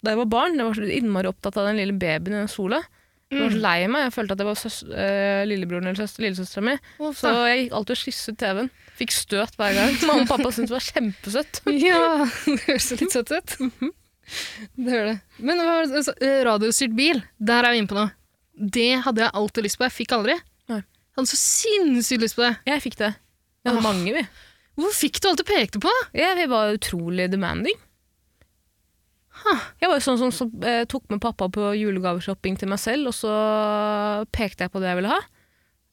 Speaker 3: Da jeg var barn, jeg var så innmari opptatt av den lille babyen i den sola. Jeg
Speaker 2: Mm.
Speaker 3: var så lei meg. Jeg følte at jeg var søs eh, lillebroren eller søs- lillesøstera mi.
Speaker 2: Uff
Speaker 3: Så
Speaker 2: da.
Speaker 3: jeg gikk alltid og kysset TV-en. Fikk støt hver gang. Mamma og pappa syntes det var kjempesøtt.
Speaker 2: (laughs)
Speaker 3: (laughs)
Speaker 2: Ja, det høres jo litt søtt ut.
Speaker 3: Mhm.
Speaker 2: Det gjør det. Men hva var det- altså, eh, radiostyrt bil, der er vi inne på noe. Det hadde jeg alltid lyst på, jeg fikk aldri.
Speaker 3: Nei.
Speaker 2: Jeg hadde så sinnssykt lyst på det.
Speaker 3: Jeg fikk det. Vi hadde
Speaker 2: Åh.
Speaker 3: mange, vi.
Speaker 2: Hvorfor fikk du alt du pekte på?
Speaker 3: Ja, vi var utrolig demanding. Jeg var jo sånn som, som eh, tok med pappa på julegaveshopping til meg selv, og så pekte jeg på det jeg ville ha.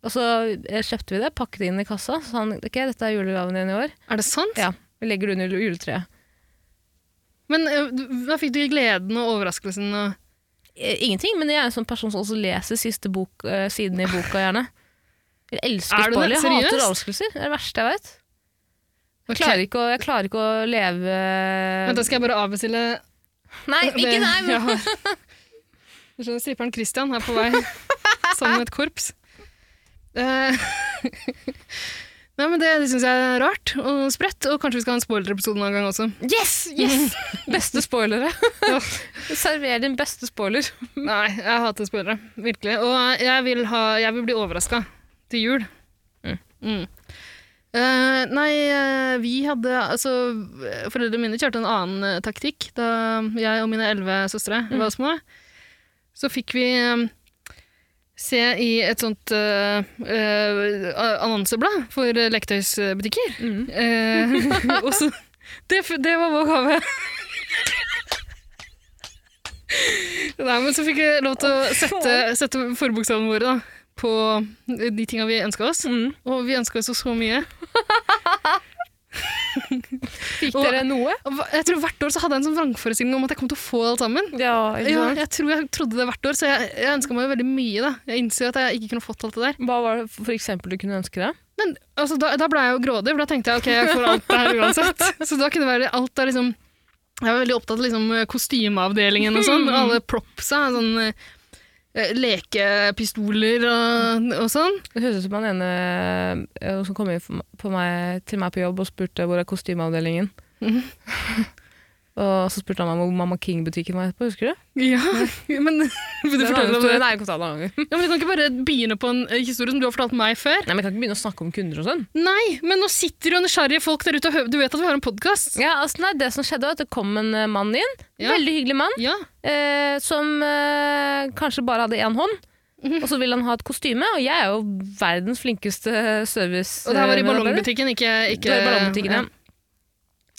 Speaker 3: Og så eh, kjøpte vi det, pakket det inn i kassa, så sa han ok, dette er julegaven din i år.
Speaker 2: Er det sant?
Speaker 3: Ja, vi legger det under jule- juletreet.
Speaker 2: Men eh, du- hva fikk du gleden og overraskelsen? Og...
Speaker 3: Eh, Ingenting, men jeg er en sånn person som også leser siste bok, eh, siden i boka gjerne. Jeg
Speaker 2: Er
Speaker 3: elsker
Speaker 2: du det?
Speaker 3: spoiler, jeg hater
Speaker 2: Seriøst?
Speaker 3: overraskelser. Det er det verste jeg vet.
Speaker 2: Ok.
Speaker 3: Jeg klarer, ikke å, jeg klarer ikke å leve...
Speaker 2: Vent, da skal jeg bare avbestille
Speaker 3: Nei, ikke nei!
Speaker 2: (laughs)
Speaker 3: men-
Speaker 2: jeg har. Du skjønner, stripperen Christian er på
Speaker 3: (laughs)
Speaker 2: vei sammen med et korps. Eh, (laughs) Nei, men Det, det syns jeg er rart og sprøtt, og kanskje vi skal ha en spoiler-episode noen gang også.
Speaker 3: (laughs) Yes!
Speaker 2: (laughs)
Speaker 3: yes! Beste spoilere. Server din beste spoiler. (laughs)
Speaker 2: Nei, jeg hater spoilere. Virkelig. Og jeg vil, ha, jeg vil bli overraska til jul.
Speaker 3: Mm.
Speaker 2: Mm. Eh, nei, eh, vi hadde Altså, foreldrene mine kjørte en annen eh, taktikk da jeg og mine elleve søstre var små. Så fikk vi eh, se i et sånt eh, eh, annonseblad for eh, leketøysbutikker. Eh, (laughs) og så det, f- det var vår gave. (laughs) Nei, men så fikk vi lov til å sette, sette forbokstavene våre da, på de tinga vi ønska oss.
Speaker 3: Mm.
Speaker 2: Og vi ønska oss jo så mye.
Speaker 3: Fikk
Speaker 2: Og-
Speaker 3: dere noe?
Speaker 2: Og hva- Jeg tror Hvert år så hadde jeg en sånn vrangforestilling om at jeg kom til å få alt sammen.
Speaker 3: Ja,
Speaker 2: Ja, jeg tror jeg trodde det hvert år, så jeg, jeg ønska meg jo veldig mye. da. Jeg innser jo at jeg ikke kunne fått alt det der.
Speaker 3: Hva var det for eksempel du kunne ønske deg?
Speaker 2: Men altså, da, da ble jeg jo grådig, for da tenkte jeg ok, jeg får alt det her (laughs) uansett. Så da kunne det være alt der liksom Jeg var veldig opptatt av liksom, kostymeavdelingen og sånn. og Alle propsa. Sånn, eh, lekepistoler og, og sånn.
Speaker 3: Det høres ut som han ene eh, som kom inn for m- på meg, til meg på jobb og spurte hvor er (laughs) kostymeavdelingen. og så spurte han meg hvor Mamma King-butikken var etterpå, husker du?
Speaker 2: Ja, (laughs) men vil du
Speaker 3: Det er en
Speaker 2: fortelle om
Speaker 3: annen
Speaker 2: det?
Speaker 3: historie. Nei, jeg kan ta det en annen gang.
Speaker 2: Ja, men Du kan ikke bare begynne på en eh, historie som du har fortalt meg før.
Speaker 3: Nei, men jeg kan ikke begynne å snakke om kunder og sånn.
Speaker 2: Nei, men nå sitter jo nysgjerrige folk der ute og hører Du vet at vi har en podkast?
Speaker 3: Ja, altså, nei, det som skjedde var at det kom en eh, mann inn,
Speaker 2: Ja.
Speaker 3: veldig hyggelig mann,
Speaker 2: Ja.
Speaker 3: eh, som eh, kanskje bare hadde én hånd.
Speaker 2: Mhm.
Speaker 3: Og så vil han ha et kostyme, og jeg er jo verdens flinkeste service.
Speaker 2: Og det her var
Speaker 3: eh,
Speaker 2: i
Speaker 3: medarbeider.
Speaker 2: ballongbutikken, ikke,
Speaker 3: Det
Speaker 2: ikke
Speaker 3: var i ballongbutikken, ja.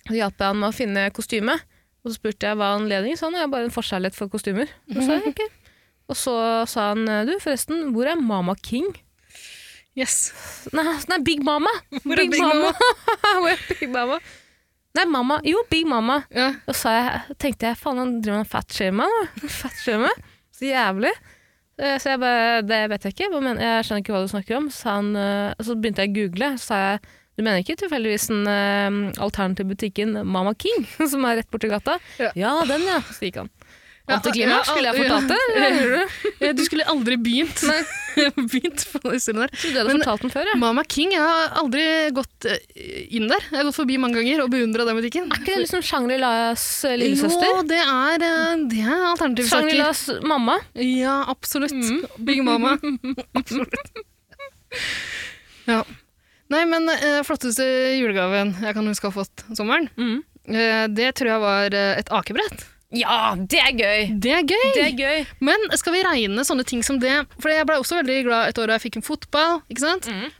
Speaker 3: Så hjalp jeg han med å finne kostyme, og så spurte jeg hva anledningen sa han, og jeg har bare en forkjærlighet for kostymer. Og så, sa jeg, «Ok». og så sa han, "Eh, du forresten, hvor er Mama King?
Speaker 2: ja. Yes.
Speaker 3: Nei, nei Big Mama!
Speaker 2: (laughs) Hvor er Big Mama?
Speaker 3: (laughs) hvor er Big Mama? Nei, mamma. Jo, Big Mama.
Speaker 2: Ja.
Speaker 3: Og så jeg, tenkte jeg, faen han driver med fatshaming nå. (laughs) Fatshaming. Så jævlig. Eh, Så jeg bare, det vet jeg ikke, hva men, jeg skjønner ikke hva du snakker om. Så, sa han, eh, så begynte jeg å google, så sa jeg, du mener ikke tilfeldigvis den (laughs) eh, alternative butikken Mama King, som er rett borti gata?
Speaker 2: Ja.
Speaker 3: Ja, den ja, så gikk han. Antiklimaks,
Speaker 2: ja,
Speaker 3: skulle jeg
Speaker 2: ja.
Speaker 3: fortalt det? eller hører du?
Speaker 2: (laughs) Eh, Du skulle aldri begynt,
Speaker 3: Nei.
Speaker 2: (laughs) begynt på den historien der.
Speaker 3: Jeg trodde jeg hadde
Speaker 2: Men-
Speaker 3: fortalt den før. Jeg.
Speaker 2: Mama King, jeg har aldri gått eh, inn der. Jeg har gått forbi mange ganger og beundra den butikken.
Speaker 3: Er ikke det liksom Shangri-Las eh,
Speaker 2: Jo,
Speaker 3: lillesøster?
Speaker 2: det er, eh, det er alternative saker.
Speaker 3: Shangri-Las mamma?
Speaker 2: Ja, absolutt. Big Mama. absolutt. Ja. Nei, men eh, flotteste julegaven jeg kan huske å ha fått sommeren,
Speaker 3: Mhm.
Speaker 2: eh, det tror jeg var eh, et akebrett.
Speaker 3: Ja, det er gøy!
Speaker 2: Det er gøy!
Speaker 3: Det er gøy.
Speaker 2: Men skal vi regne sånne ting som det? For jeg ble også veldig glad et år da jeg fikk en fotball. ikke sant?
Speaker 3: Mhm.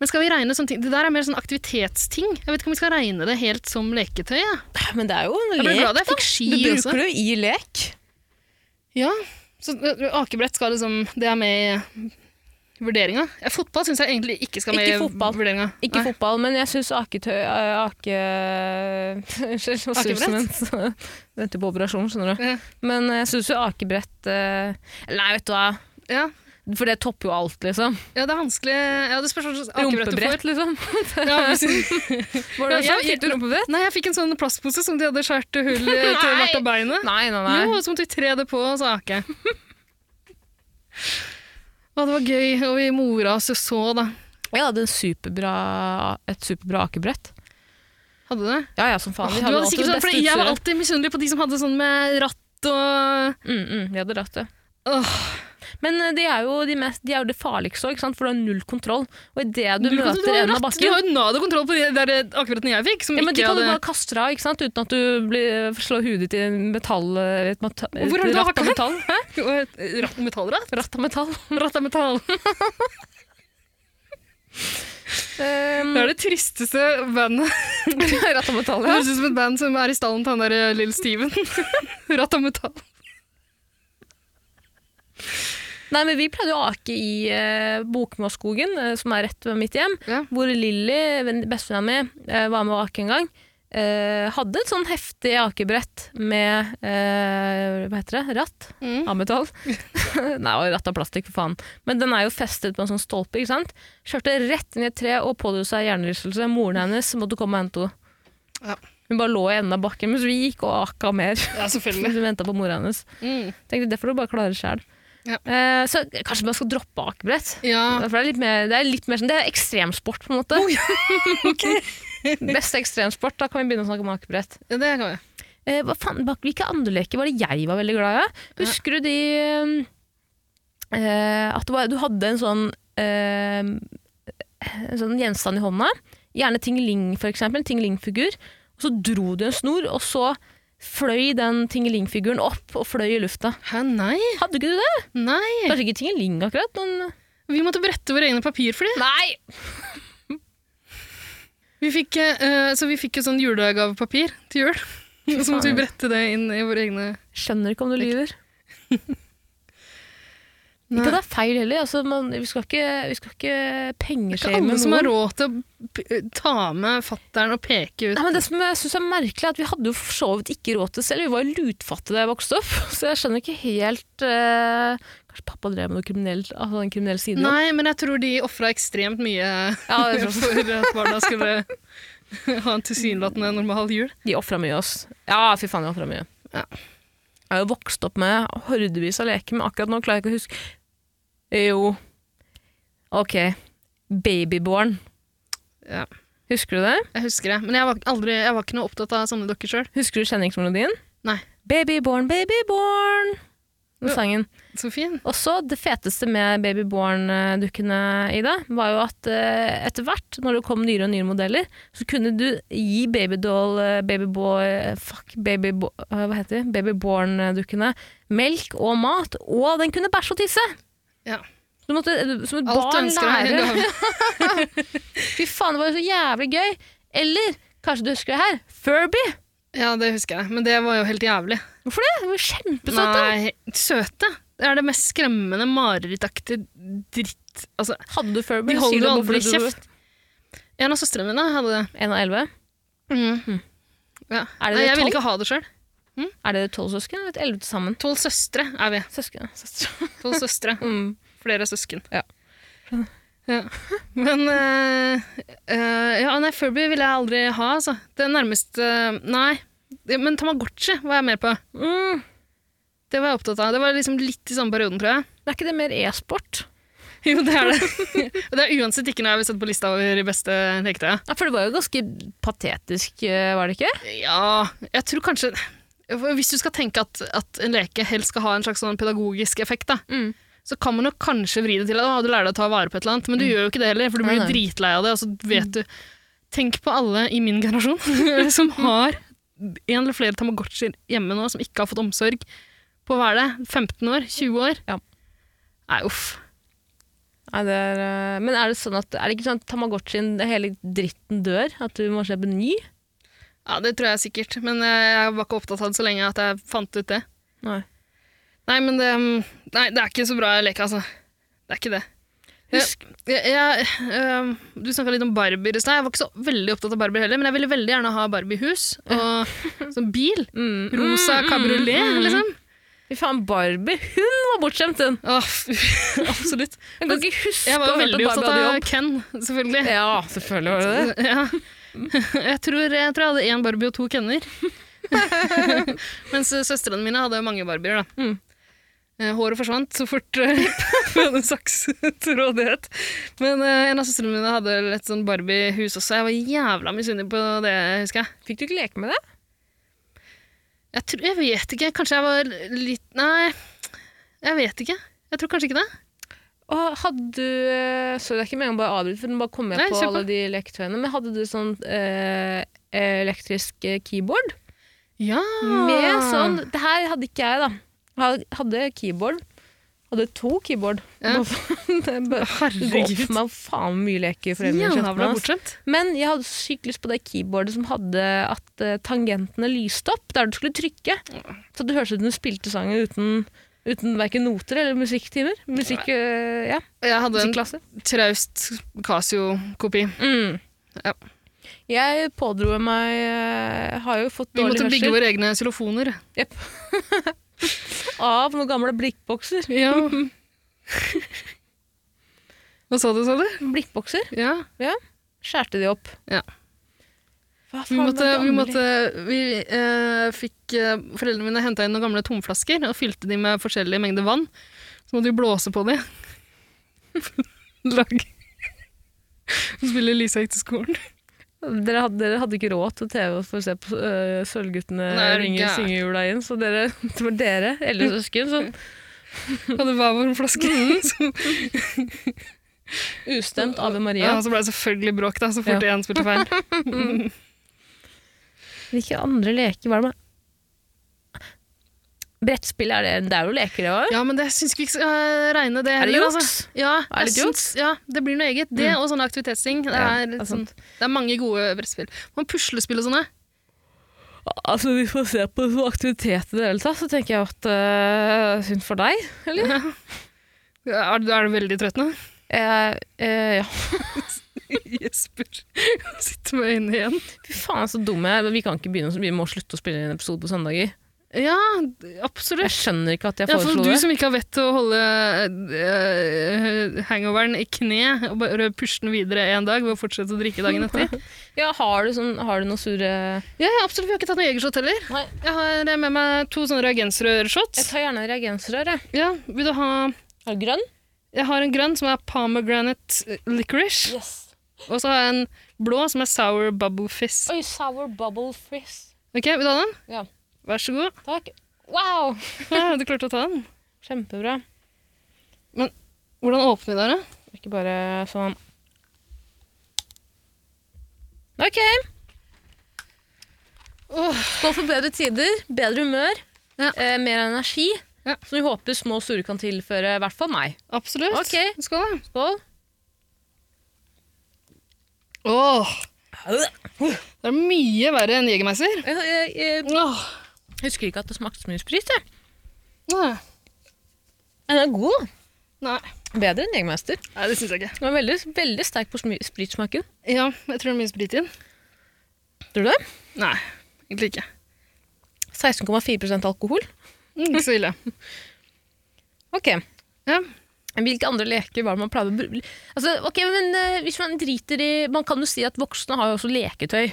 Speaker 2: Men skal vi regne sånne ting? Det der er mer sånn aktivitetsting. Jeg vet ikke om vi skal regne det helt som leketøy. Jeg,
Speaker 3: Men det er jo en
Speaker 2: jeg ble
Speaker 3: lek.
Speaker 2: glad da jeg fikk ski
Speaker 1: Du
Speaker 2: også.
Speaker 1: bruker det jo i lek.
Speaker 2: Ja, så ø, akebrett skal liksom Det er med i vurderinga. Ja, Fotball syns jeg egentlig ikke skal med
Speaker 3: Ikke
Speaker 2: i
Speaker 3: fotball.
Speaker 2: vurderinga.
Speaker 3: Ikke
Speaker 2: Nei.
Speaker 3: fotball, men jeg syns aketøy eh, Ake... (laughs) Unnskyld, nå
Speaker 2: Akebrett?
Speaker 3: suser mens jeg venter på operasjon, skjønner du.
Speaker 2: Ja.
Speaker 3: Men jeg syns jo akebrett eh, Nei, vet du hva.
Speaker 2: Ja.
Speaker 3: For det topper jo alt, liksom.
Speaker 2: ja, det er vanskelig Ja, det spørs hva slags akebrett du får.
Speaker 3: Rumpebrett, liksom.
Speaker 2: (laughs) Ja, precis.
Speaker 3: Var
Speaker 2: Ja,
Speaker 3: det sånn?
Speaker 2: jeg-
Speaker 3: Fikk du rumpebrett?
Speaker 2: Nei, jeg fikk en sånn plastpose som de hadde skåret hull i til
Speaker 3: (laughs) Nei.
Speaker 2: hvert av beinet.
Speaker 3: Nei, nei, nei.
Speaker 2: Jo, og så måtte vi tre det på, og så ake. Å, det var gøy. Og vi mora oss jo så, da.
Speaker 3: Jeg hadde en superbra, et superbra akebrett.
Speaker 2: Hadde du det?
Speaker 3: Ja, ja, som faen.
Speaker 2: Åh,
Speaker 3: Vi
Speaker 2: du
Speaker 3: hadde
Speaker 2: hadde
Speaker 3: alltid
Speaker 2: sikkert
Speaker 3: det
Speaker 2: sånn,
Speaker 3: beste
Speaker 2: fordi jeg var
Speaker 3: utstyret.
Speaker 2: alltid misunnelig på de som hadde sånn med ratt og
Speaker 3: Mm, mm, vi hadde rett, ja.
Speaker 2: Åh,
Speaker 3: Men eh, de er jo, de mest, de er jo det farligste òg, for du har null kontroll. Og idet du,
Speaker 2: du, kan- du,
Speaker 3: møter
Speaker 2: har
Speaker 3: en
Speaker 2: ratt.
Speaker 3: av
Speaker 2: du
Speaker 3: bakken
Speaker 2: har jo nada kontroll på de der akebrattene jeg fikk. Som
Speaker 3: ja, men De
Speaker 2: ikke
Speaker 3: kan du
Speaker 2: hadde...
Speaker 3: bare kaste deg av ikke sant? uten at du blir, eh, slår hodet ditt i en metall, et, meta- et
Speaker 2: Hvor har du
Speaker 3: ratt
Speaker 2: hakket?
Speaker 3: av metall. Hæ?
Speaker 2: Og et ratt metallratt?
Speaker 3: Ratt av
Speaker 2: (laughs)
Speaker 3: metall.
Speaker 2: Ratt av metall.
Speaker 3: Um,
Speaker 2: Det er det tristeste bandet.
Speaker 3: ratt av metall,
Speaker 2: Det
Speaker 3: ja.
Speaker 2: høres ut som et band som er i stallen til han der Lill Steven. (laughs) Ratt av metall.
Speaker 3: Nei, men Vi pleide å ake i eh, Bokmåsskogen, eh, som er rett ved mitt hjem.
Speaker 2: Ja.
Speaker 3: Hvor Lilly, venn- bestevenninna mi, eh, var med å ake en gang. Eh, hadde et sånn heftig akebrett med eh, hva heter det? ratt
Speaker 2: Mm.
Speaker 3: av (laughs) metall. Nei, og ratt av plastikk, for faen. Men den er jo festet på en sånn stolpe. ikke sant? Kjørte rett inn i et tre og pådro seg hjernerystelse. Moren hennes måtte komme og hente henne.
Speaker 2: Ja.
Speaker 3: Hun bare lå i enden av bakken mens vi gikk og aka mer. (laughs)
Speaker 2: Ja, selvfølgelig.
Speaker 3: mens vi venta på mora hennes.
Speaker 2: Mm.
Speaker 3: Tenkte, Det får du bare klare sjæl.
Speaker 2: Ja.
Speaker 3: Eh, så kanskje man skal droppe akebrett?
Speaker 2: Ja.
Speaker 3: (laughs)
Speaker 2: Oh,
Speaker 3: For det er litt mer, det er litt mer sånn, det er ekstremsport, på en måte. Beste ekstremsport. Da kan vi begynne å snakke om akebrett.
Speaker 2: ja, det kan vi.
Speaker 3: Eh, hva faen, bak- hvilke andre leker var det jeg var veldig glad i? Husker du de eh, At det var, du hadde en sånn, eh, en sånn gjenstand i hånda. Gjerne tingeling, for eksempel. En tingelingfigur. Og så dro du en snor, og så fløy den tingelingfiguren opp og fløy i lufta.
Speaker 2: Hæ, nei?
Speaker 3: Hadde ikke du det?
Speaker 2: Nei.
Speaker 3: Kanskje ikke tingeling akkurat, men eh,
Speaker 2: Vi måtte brette våre egne papirfly.
Speaker 3: Nei!
Speaker 2: Vi fikk, eh, så vi fikk jo sånn julegavepapir til jul. Og (laughs) så måtte vi brette det inn i våre egne
Speaker 3: Skjønner ikke om du lyver. Ikke at det er feil heller. Altså, man, vi skal ikke, vi skal ikke
Speaker 2: Det er
Speaker 3: pengeskjeve
Speaker 2: ikke alle
Speaker 3: med
Speaker 2: som har
Speaker 3: noen.
Speaker 2: råd til å p- ta med fatteren og peke ut.
Speaker 3: Nei, men det som jeg synes er merkelig er at Vi hadde jo for så vidt ikke råd til det selv. Vi var jo lutfattige da jeg vokste opp. (laughs) Så jeg skjønner ikke helt eh, Kanskje pappa drev med noe kriminelt, altså en kriminell side? da.
Speaker 2: Nei, men jeg tror de ofra ekstremt mye
Speaker 3: Ja, det sånn tror jeg.
Speaker 2: for at barna skulle (laughs) ha en tilsynelatende normal jul.
Speaker 3: De ofra mye oss. Ja, fy faen, de ofra mye.
Speaker 2: Ja.
Speaker 3: Jeg har jo vokst opp med hordevis av leker, men akkurat nå klarer jeg ikke å huske Jo. Ok. Babyborn.
Speaker 2: Ja.
Speaker 3: Husker du det?
Speaker 2: Jeg husker det, men jeg var, aldri, jeg var ikke noe opptatt av sånne dokker sjøl.
Speaker 3: Husker du kjenningsmelodien?
Speaker 2: Nei.
Speaker 3: Babyborn, babyborn! Den
Speaker 2: Ja.
Speaker 3: sangen.
Speaker 2: Så fin.
Speaker 3: Også det feteste med babyborn-dukkene, Ida, var jo at eh, etter hvert, når det kom nyere og nyere modeller, så kunne du gi babydoll, eh, babyboy, eh, fuck, babybo, eh, hva heter de? Babyborn-dukkene melk og mat, og den kunne bæsje og tisse!
Speaker 2: Ja.
Speaker 3: Du måtte, eh, du- som et
Speaker 2: Alt du
Speaker 3: barn
Speaker 2: ønsker deg er en
Speaker 3: lære
Speaker 2: gave.
Speaker 3: (laughs) Fy faen, det var jo så jævlig gøy! Eller, kanskje du husker det her, Furby!
Speaker 2: Ja, det husker jeg, men det var jo helt jævlig.
Speaker 3: Hvorfor det? Det var jo kjempesøtt! da.
Speaker 2: Nei, søte? Det er det mest skremmende marerittaktige dritt Altså,
Speaker 3: Hadde du Furby?
Speaker 2: de holder
Speaker 3: Sier du
Speaker 2: jo
Speaker 3: hvorfor
Speaker 2: aldri
Speaker 3: du-
Speaker 2: kjeft. En av søstrene mine hadde det.
Speaker 3: En av elleve?
Speaker 2: Ja.
Speaker 3: Mm. Er det
Speaker 2: Nei, jeg
Speaker 3: tolv?
Speaker 2: ville ikke ha det sjøl.
Speaker 3: Er det tolv søsken eller elleve til sammen?
Speaker 2: Tolv søstre er vi.
Speaker 3: Søsken. Søstre.
Speaker 2: Tolv søstre.
Speaker 3: Mm.
Speaker 2: Flere søsken.
Speaker 3: Ja.
Speaker 2: (laughs) Ja. Men eh, eh, Ja, nei, Furby ville jeg aldri ha, altså. eh, Det nærmeste Nei. Men Tamagotchi var jeg mer på.
Speaker 3: Mm.
Speaker 2: Det var jeg opptatt av. Det var liksom litt i samme perioden, tror jeg. (laughs)
Speaker 3: Er ikke det mer e-sport?
Speaker 2: Jo, det er det. (laughs) Og det er uansett ikke noe jeg vil sette på lista over de beste leketøyene.
Speaker 3: Ja, for det var jo ganske patetisk, eh, var det ikke?
Speaker 2: Ja, jeg tror kanskje Hvis du skal tenke at, at en leke helst skal ha en slags sånn pedagogisk effekt, da,
Speaker 3: Mm.
Speaker 2: så kan man jo kanskje vri det til at å, du lærer deg å ta vare på et eller annet, men du gjør jo ikke det heller, for du
Speaker 3: Mm. Nei,
Speaker 2: blir
Speaker 3: nei. Mm.
Speaker 2: dritlei av det, og så vet du Tenk på alle i min generasjon (laughs) som har en eller flere Tamagotchier hjemme nå, som ikke har fått omsorg på hva er det, 15 år? 20 år?
Speaker 3: Ja.
Speaker 2: Nei, uff.
Speaker 3: Nei, det er, eh, men er det, sånn at, er det ikke sånn at Tamagotchien, det hele dritten dør? At du må kjøpe en ny?
Speaker 2: Ja, det tror jeg sikkert, men eh, jeg var ikke opptatt av det så lenge at jeg fant ut det.
Speaker 3: Nei.
Speaker 2: Nei, men det, mm, nei, det er ikke så bra leke, altså. Det er ikke det. Jeg, jeg, jeg, øhm, du snakka litt om Barbier i stad. Jeg var ikke så veldig opptatt av Barbier heller, men jeg ville veldig gjerne ha Barbie-hus og sånn (laughs) bil.
Speaker 3: Mm,
Speaker 2: Rosa
Speaker 3: mm, mm,
Speaker 2: kabriolet,
Speaker 3: mm, mm.
Speaker 2: liksom.
Speaker 3: Fy faen, Barbie, hun var bortskjemt, (laughs) hun!
Speaker 2: Åh, f- absolutt.
Speaker 3: Jeg kan ikke huske
Speaker 2: Jeg var
Speaker 3: å ha hørt
Speaker 2: veldig
Speaker 3: at Barbie
Speaker 2: opptatt
Speaker 3: hadde
Speaker 2: av
Speaker 3: jobb.
Speaker 2: Ken, selvfølgelig.
Speaker 3: Ja, selvfølgelig var det
Speaker 2: (laughs)
Speaker 3: det.
Speaker 2: Ja. Jeg, tror, jeg tror jeg hadde én Barbie og to (laughs) Kenner. Mens søstrene mine hadde mange Barbier. Da.
Speaker 3: Mm.
Speaker 2: Eh, Håret forsvant så fort eh, (laughs) vi hadde en saks til rådighet. Men eh, en av søstrene mine hadde et sånn Barbie-hus også. Jeg var jævla misunnelig på det, husker jeg.
Speaker 3: (laughs) Fikk du ikke leke med det?
Speaker 2: Jeg, tror, jeg vet ikke. Kanskje jeg var litt Nei, jeg vet ikke. Jeg tror kanskje ikke det.
Speaker 3: Og hadde du eh, Sorry, det er ikke meningen å bare avbryte, for den bare kom jeg
Speaker 2: Nei,
Speaker 3: på
Speaker 2: kjør på.
Speaker 3: alle de leketøyene. Men hadde du sånn eh, elektrisk eh, keyboard?
Speaker 2: Ja. Ah.
Speaker 3: Med sånn Det her hadde ikke jeg, da. Jeg Hadde keyboard. Hadde to keyboard.
Speaker 2: Ja.
Speaker 3: (laughs)
Speaker 2: Ah,
Speaker 3: det bør gå opp
Speaker 2: Herregud.
Speaker 3: for meg hvor faen mye leker foreldrene mine kjøpte
Speaker 2: Jævla
Speaker 3: meg, ass.
Speaker 2: bortskjemt.
Speaker 3: Men jeg hadde sykt lyst på det keyboardet som hadde at eh, tangentene lyste opp der du skulle trykke. Så det hørtes ut som du spilte sangen uten, uten verken noter eller musikktimer. Musikk, eh, ja,
Speaker 2: Jeg hadde en
Speaker 3: musikklasse.
Speaker 2: traust Casio-kopi.
Speaker 3: Mm.
Speaker 2: Ja.
Speaker 3: Jeg pådro meg eh, Har jo fått
Speaker 2: Vi måtte
Speaker 3: dårlig
Speaker 2: bygge
Speaker 3: hørsel
Speaker 2: våre egne xylofoner.
Speaker 3: av noen gamle blikkbokser.
Speaker 2: Ja. (laughs) Hva sa du, sa du?
Speaker 3: Blikkbokser
Speaker 2: Ja.
Speaker 3: skjærte de opp.
Speaker 2: Ja.
Speaker 3: Hva
Speaker 2: Vi
Speaker 3: faen
Speaker 2: måtte,
Speaker 3: med
Speaker 2: vi
Speaker 3: gamle-
Speaker 2: måtte vi, eh, fikk eh, Foreldrene mine henta inn noen gamle tomflasker og fylte de med forskjellige mengder vann. Så måtte vi blåse på de. (laughs) Lag Spille Lisa gikk til skolen.
Speaker 3: dere, hadde, dere hadde ikke råd til TV for å se på øh, Sølvguttene
Speaker 2: Nei, er Mm. du
Speaker 3: ringe
Speaker 2: gæren?
Speaker 3: syngejula inn, så dere, (laughs) det var dere, eldre søsken,
Speaker 2: (laughs)
Speaker 3: som
Speaker 2: Hadde hver vår flaske.
Speaker 3: Mm.
Speaker 2: (laughs) Så,
Speaker 3: Ustemt Ave
Speaker 2: ja,
Speaker 3: Maria.
Speaker 2: så ble det selvfølgelig bråk da, så fort én spilte feil.
Speaker 3: Hvilke andre leker var det med? Brettspill, er det, det er jo leker, det òg?
Speaker 2: Ja, men det syns vi ikke skal eh, regne det
Speaker 3: Er det
Speaker 2: heller.
Speaker 3: juks?
Speaker 2: Altså. Ja,
Speaker 3: Er det Mm.
Speaker 2: jeg syns- Ja, det blir noe eget. Det og sånne aktivitetsting. Det
Speaker 3: Ja,
Speaker 2: er,
Speaker 3: det er
Speaker 2: litt sånn,
Speaker 3: sant.
Speaker 2: det er mange gode brettspill. Man puslespill og sånne. sånn-
Speaker 3: Altså, Hvis man ser på sånn aktivitet i det hele tatt, så tenker jeg at øh, Synd for deg,
Speaker 2: (laughs)
Speaker 3: eller?
Speaker 2: Er, du- er du veldig trøtt
Speaker 3: (laughs)
Speaker 2: nå?
Speaker 3: Eh, eh, ja. (laughs)
Speaker 2: Jesper sitter med øynene igjen.
Speaker 3: Fy faen, så dum jeg er. Vi kan ikke begynne, vi må slutte å spille inn en episode på søndager.
Speaker 2: Ja, d- absolutt.
Speaker 3: Jeg skjønner ikke at jeg
Speaker 2: Ja, for
Speaker 3: foreslo
Speaker 2: du
Speaker 3: det.
Speaker 2: som ikke har vett til å holde eh, eh, hangoveren i kne og bare pushe den videre en dag ved å fortsette å drikke dagen
Speaker 3: (laughs)
Speaker 2: etter.
Speaker 3: Ja, har du, sånn, har du noe sure
Speaker 2: Ja, ja, absolutt. Vi har ikke tatt noe Jegershot heller.
Speaker 3: Nei.
Speaker 2: Jeg har eh, med meg to sånne
Speaker 3: Jeg
Speaker 2: reagensrørshots.
Speaker 3: tar gjerne reagensrør, jeg.
Speaker 2: Ja, vil du ha
Speaker 3: Er det grønn?
Speaker 2: Jeg har en grønn som er pomegranate eh, licorice.
Speaker 3: Yes.
Speaker 2: Og så har jeg en blå som er sour bubble fizz.
Speaker 3: Oi, sour bubble frizz.
Speaker 2: Ok, Vil du ha den?
Speaker 3: Ja.
Speaker 2: Vær så god. (laughs)
Speaker 3: Takk. Wow!
Speaker 2: Ja, du klarte å ta den.
Speaker 3: Kjempebra.
Speaker 2: Hvordan åpner vi der, da?
Speaker 3: Ikke bare sånn OK. Skål for bedre tider, bedre humør,
Speaker 2: Ja.
Speaker 3: eh, mer energi.
Speaker 2: Ja.
Speaker 3: Som vi håper små sure kan tilføre i hvert fall meg.
Speaker 2: Absolutt.
Speaker 3: Ok.
Speaker 2: Skål, da.
Speaker 3: Skål.
Speaker 2: Åh, det er mye verre enn Jegermeister.
Speaker 3: Jeg, jeg, jeg
Speaker 2: Åh.
Speaker 3: husker ikke at det smakte så mye sprit. jeg.
Speaker 2: Nei.
Speaker 3: Men Den er god.
Speaker 2: Nei,
Speaker 3: Bedre enn Jegermeister.
Speaker 2: Nei, det syns jeg ikke.
Speaker 3: Den var veldig, veldig sterk på smi- spritsmaken.
Speaker 2: Ja, jeg tror det er mye sprit i den.
Speaker 3: Tror du det?
Speaker 2: Nei, egentlig ikke.
Speaker 3: 16,4 alkohol.
Speaker 2: Mm, Ikke så ille.
Speaker 3: Ok.
Speaker 2: Ja.
Speaker 3: Hvilke andre leker var det man pleide å bruke? Altså, ok, men eh, hvis Man driter i, man kan jo si at voksne har jo også leketøy.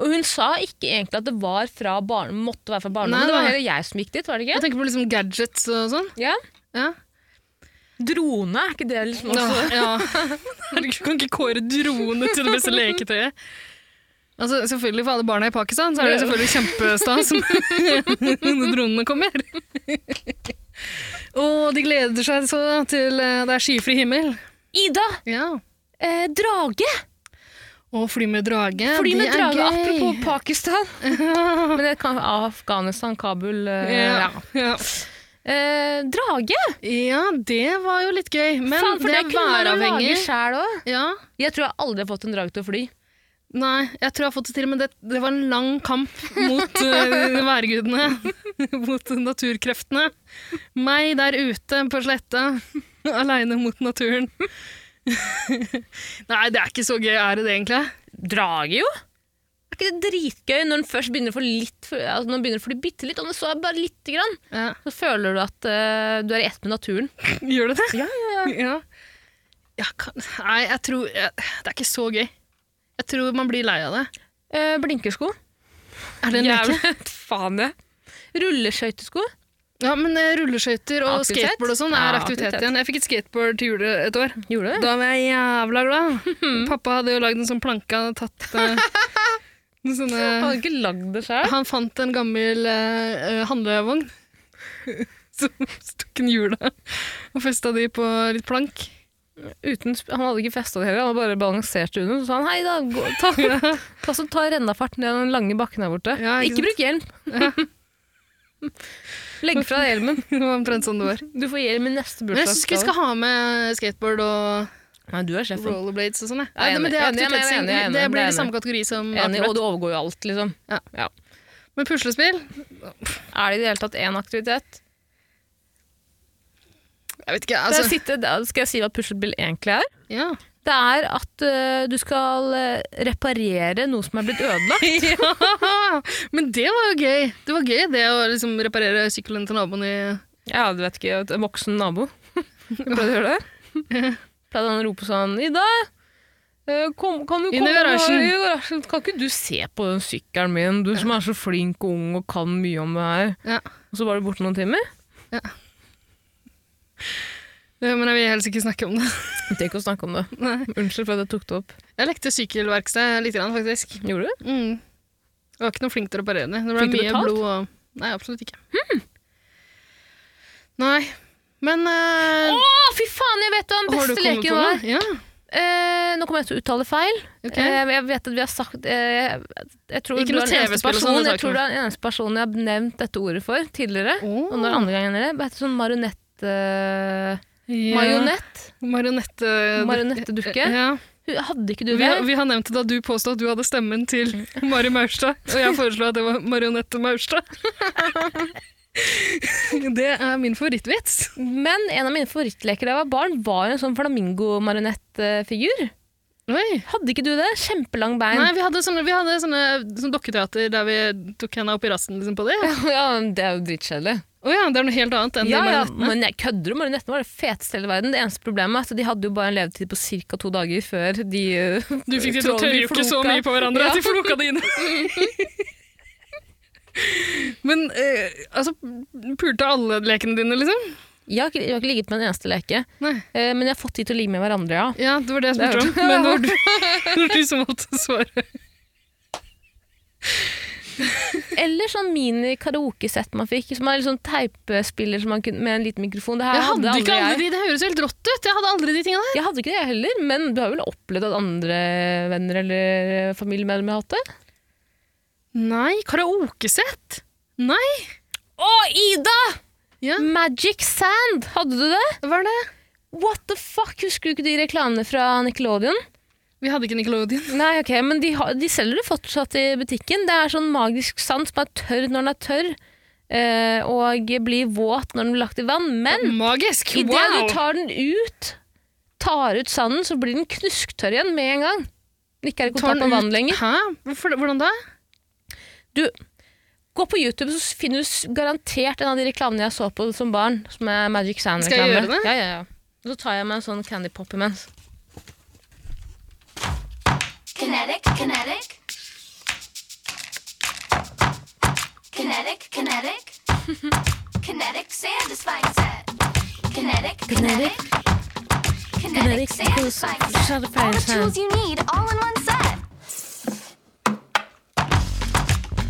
Speaker 3: Og hun sa ikke egentlig at det var fra barn, måtte være fra
Speaker 2: Nei,
Speaker 3: barndommen. Det var
Speaker 2: nei.
Speaker 3: heller jeg som gikk dit, var det
Speaker 2: Jeg
Speaker 3: ikke?
Speaker 2: tenker på liksom gadgets og sånn.
Speaker 3: Ja.
Speaker 2: Ja.
Speaker 3: Drone, er ikke det liksom
Speaker 2: Nå,
Speaker 3: også?
Speaker 2: ja. (laughs) Herregud, kan ikke kåre drone til det beste leketøyet. Altså, selvfølgelig For alle barna i Pakistan så er det selvfølgelig kjempestas (laughs) når dronene kommer. Og de gleder seg så til eh, det er skyfri himmel.
Speaker 3: Ida!
Speaker 2: Ja.
Speaker 3: Eh, drage!
Speaker 2: Og fly med drage.
Speaker 3: Fordi
Speaker 2: det
Speaker 3: med
Speaker 2: er
Speaker 3: drage,
Speaker 2: gøy.
Speaker 3: apropos Pakistan. Men det kan Afghanistan, Kabul eh,
Speaker 2: (laughs) ja.
Speaker 3: ja.
Speaker 2: Ja.
Speaker 3: Eh, Drage!
Speaker 2: ja, det var jo litt gøy. Men
Speaker 3: Faen, for
Speaker 2: det
Speaker 3: det
Speaker 2: er
Speaker 3: kunne man jo lage
Speaker 2: væravhengig.
Speaker 3: sjæl òg.
Speaker 2: Ja.
Speaker 3: Jeg tror jeg aldri har fått en drage til å fly.
Speaker 2: Nei, jeg tror jeg har fått det til, men det, det var en lang kamp mot eh, værgudene. (laughs) mot naturkreftene. Meg der ute på sletta, (laughs) aleine mot naturen. (laughs) Nei, det er ikke så gøy, er det det egentlig?
Speaker 3: Drage, jo! Er ikke det dritgøy når den først begynner å få litt altså når den begynner å fly bitte litt? Om det så er bare lite grann,
Speaker 2: Ja.
Speaker 3: så føler du at eh, du er i ett med naturen.
Speaker 2: Gjør det det? Ja, ja, ja. kan, nei, jeg tror jeg, Det er ikke så gøy. Jeg tror man blir lei av det.
Speaker 3: Eh, blinkersko.
Speaker 2: Er det en leke?
Speaker 3: Jævlig. (laughs) Faen, ja. Rulleskøytesko.
Speaker 2: Ja, men eh, rulleskøyter og
Speaker 3: Aktivitet?
Speaker 2: skateboard og sånn er
Speaker 3: Ja,
Speaker 2: aktivitet
Speaker 3: aktivitet.
Speaker 2: igjen. Jeg fikk et skateboard til jule et år.
Speaker 3: Gjorde du det?
Speaker 2: Da var jeg jævla (laughs) glad. Pappa hadde jo lagd en sånn planke og tatt eh, (laughs) noen sånne
Speaker 3: Hadde ikke lagd det sjøl.
Speaker 2: Han fant en gammel eh, eh, handlevogn (laughs) som stukk en hjula og festa de på litt plank. (laughs)
Speaker 3: Uten sp- Han hadde ikke festa det heller, han hadde bare balansert under. Så sa han hei, da, gå, ta, (laughs) ta, så ta rennafart ned den lange bakken her borte.
Speaker 2: Ja, ikke
Speaker 3: ikke bruk hjelm! (laughs) Legg fra deg hjelmen.
Speaker 2: Det var omtrent sånn det var.
Speaker 3: Du får hjelm i neste
Speaker 2: Men jeg syns ikke vi
Speaker 3: bursdagsgave.
Speaker 2: skal ha med skateboard og
Speaker 3: Nei, du er sjefen.
Speaker 2: rollerblades og sånn. jeg.
Speaker 3: Jeg
Speaker 2: Nei,
Speaker 3: er
Speaker 2: men
Speaker 3: enig.
Speaker 2: det, er
Speaker 3: Jeg er enig, jeg er
Speaker 2: aktivitets-
Speaker 3: enig, jeg er enig,
Speaker 2: det
Speaker 3: jeg er
Speaker 2: blir i
Speaker 3: enig.
Speaker 2: samme kategori som
Speaker 3: Enig, og
Speaker 2: akkurat.
Speaker 3: det overgår jo alt, liksom.
Speaker 2: Ja.
Speaker 3: Ja.
Speaker 2: Men puslespill?
Speaker 3: Er det i det hele tatt én aktivitet?
Speaker 2: Jeg vet ikke.
Speaker 3: Altså,
Speaker 2: Altså,
Speaker 3: sitte, da skal jeg si hva puslespill egentlig er?
Speaker 2: ja. (laughs)
Speaker 3: Det er at øh, du skal øh, reparere noe som er blitt ødelagt.
Speaker 2: ja! Men det var jo gøy. Det var gøy det å liksom reparere sykkelen til naboen i
Speaker 3: (laughs) Ja, du vet ikke, en voksen nabo. (laughs) Pleide du å gjøre det? (laughs) Pleide han å rope sånn Ida, eh, kom, kan du
Speaker 2: Inn i
Speaker 3: komme
Speaker 2: garasjen."
Speaker 3: i garasjen? Kan ikke du se på den sykkelen min, du som er så flink og ung og kan mye om det her?
Speaker 2: Ja.
Speaker 3: Og så var du borte noen timer?
Speaker 2: Ja, Men jeg vil helst ikke snakke om det. (laughs)
Speaker 3: Jeg trenger ikke å snakke om det.
Speaker 2: Nei.
Speaker 3: Unnskyld for at jeg tok det opp.
Speaker 2: Jeg lekte sykkelverksted litt, grann, faktisk.
Speaker 3: Gjorde du?
Speaker 2: Mm. Jeg var ikke noe flink til å reparere det. Det ble
Speaker 3: Fikk du
Speaker 2: mye
Speaker 3: betalt?
Speaker 2: blod og Nei, absolutt ikke.
Speaker 3: Hmm.
Speaker 2: Nei. Men eh,
Speaker 3: Å, fy faen, jeg vet hva
Speaker 2: har du
Speaker 3: den beste
Speaker 2: kommet
Speaker 3: leken
Speaker 2: på noe?
Speaker 3: var!
Speaker 2: Ja.
Speaker 3: Eh, nå kommer jeg til å uttale feil.
Speaker 2: ok.
Speaker 3: Eh, jeg vet at vi har sagt eh, jeg tror
Speaker 2: Ikke
Speaker 3: du
Speaker 2: noe
Speaker 3: er den eneste
Speaker 2: TV-spill og sånn,
Speaker 3: personen-
Speaker 2: det
Speaker 3: Jeg tror du er den eneste personen jeg har nevnt dette ordet for tidligere.
Speaker 2: Åh.
Speaker 3: Og når andre gangen er det, hva heter det sånn marionett... eh,
Speaker 2: Ja.
Speaker 3: Marionett?
Speaker 2: Marionette...
Speaker 3: Marionettedukke?
Speaker 2: Ja.
Speaker 3: Hun- Hadde ikke du Mm.
Speaker 2: Vi,
Speaker 3: det?
Speaker 2: har- vi har nevnt det da du påstod at du hadde stemmen til Mari Maurstad, og jeg foreslo at det var Marionette
Speaker 3: (laughs)
Speaker 2: Maurstad. Det er min favorittvits.
Speaker 3: Men en av mine favorittleker da jeg var barn, var en sånn flamingo-marionettfigur.
Speaker 2: Oi.
Speaker 3: Hadde ikke du det? Kjempelang bein.
Speaker 2: Nei, vi hadde sånne, vi hadde sånne, sånn dokketeater der vi tok henda opp i rassen liksom, på det. Å
Speaker 3: (laughs) Ja, Det er jo dritkjedelig.
Speaker 2: ja, det er noe helt annet enn
Speaker 3: Ja,
Speaker 2: de
Speaker 3: ja,
Speaker 2: marionettene.
Speaker 3: men jeg kødder om marionettene var det feteste i hele verden. Det eneste problemet er at de hadde jo bare en levetid på ca. to dager før de uh,
Speaker 2: Du fikk de til å tørrjukke så mye på hverandre at de floka (laughs) dine. Men eh, altså, pulte alle lekene dine, liksom?
Speaker 3: (laughs) Jeg har, ikke, jeg har ikke ligget med en eneste leke,
Speaker 2: Nei.
Speaker 3: eh, men jeg har fått de til å ligge med hverandre, ja.
Speaker 2: Ja, det var det jeg
Speaker 3: Det er
Speaker 2: spurte om.
Speaker 3: jo-
Speaker 2: Men det var (laughs) du, det var du som valgte å svare.
Speaker 3: Eller sånn mini-karaokesett man fikk, som er litt sånn teipespiller som man kunne, med en liten mikrofon. Det her
Speaker 2: Jeg hadde
Speaker 3: aldri
Speaker 2: ikke alle
Speaker 3: jeg.
Speaker 2: de, det høres helt rått ut. Jeg hadde aldri de tingene der.
Speaker 3: Jeg hadde ikke det jeg heller, men du har vel opplevd at andre venner eller eh, familiemedlemmer har hatt det?
Speaker 2: Nei, karaokesett? Nei.
Speaker 3: Å, Ida!
Speaker 2: Ja,
Speaker 3: Magic Sand! Hadde du det?
Speaker 2: hva er det?
Speaker 3: What the fuck? Husker du ikke de reklamene fra Nickelodeon?
Speaker 2: Vi hadde ikke Nickelodeon.
Speaker 3: Nei, ok, men de, har, de selger det fortsatt i butikken. Det er sånn magisk sand som er tørr når den er tørr, eh, og blir våt når den blir lagt i vann. Men
Speaker 2: Magisk!
Speaker 3: idet
Speaker 2: Mm, Wow!
Speaker 3: du tar den ut, tar ut sanden, så blir den knusktørr igjen med en gang. Den ikke er
Speaker 2: Tar
Speaker 3: i
Speaker 2: den
Speaker 3: kontakt med vann
Speaker 2: ut-
Speaker 3: lenger.
Speaker 2: Hæ? Hvorfor, hvordan da?
Speaker 3: Gå på YouTube, så finner du s- garantert en av de reklamene jeg så på som barn. Som er Magic
Speaker 2: Skal jeg
Speaker 3: Sand-reklame.
Speaker 2: gjøre det?
Speaker 3: Ja, ja, ja. Så tar jeg meg en sånn candy pop imens.
Speaker 4: Kinetic, kinetic. Kinetic, kinetic. (laughs) kinetic satisfying set. Kinetic, kinetic. Kinetic satisfying set. All the tools you need all in one set.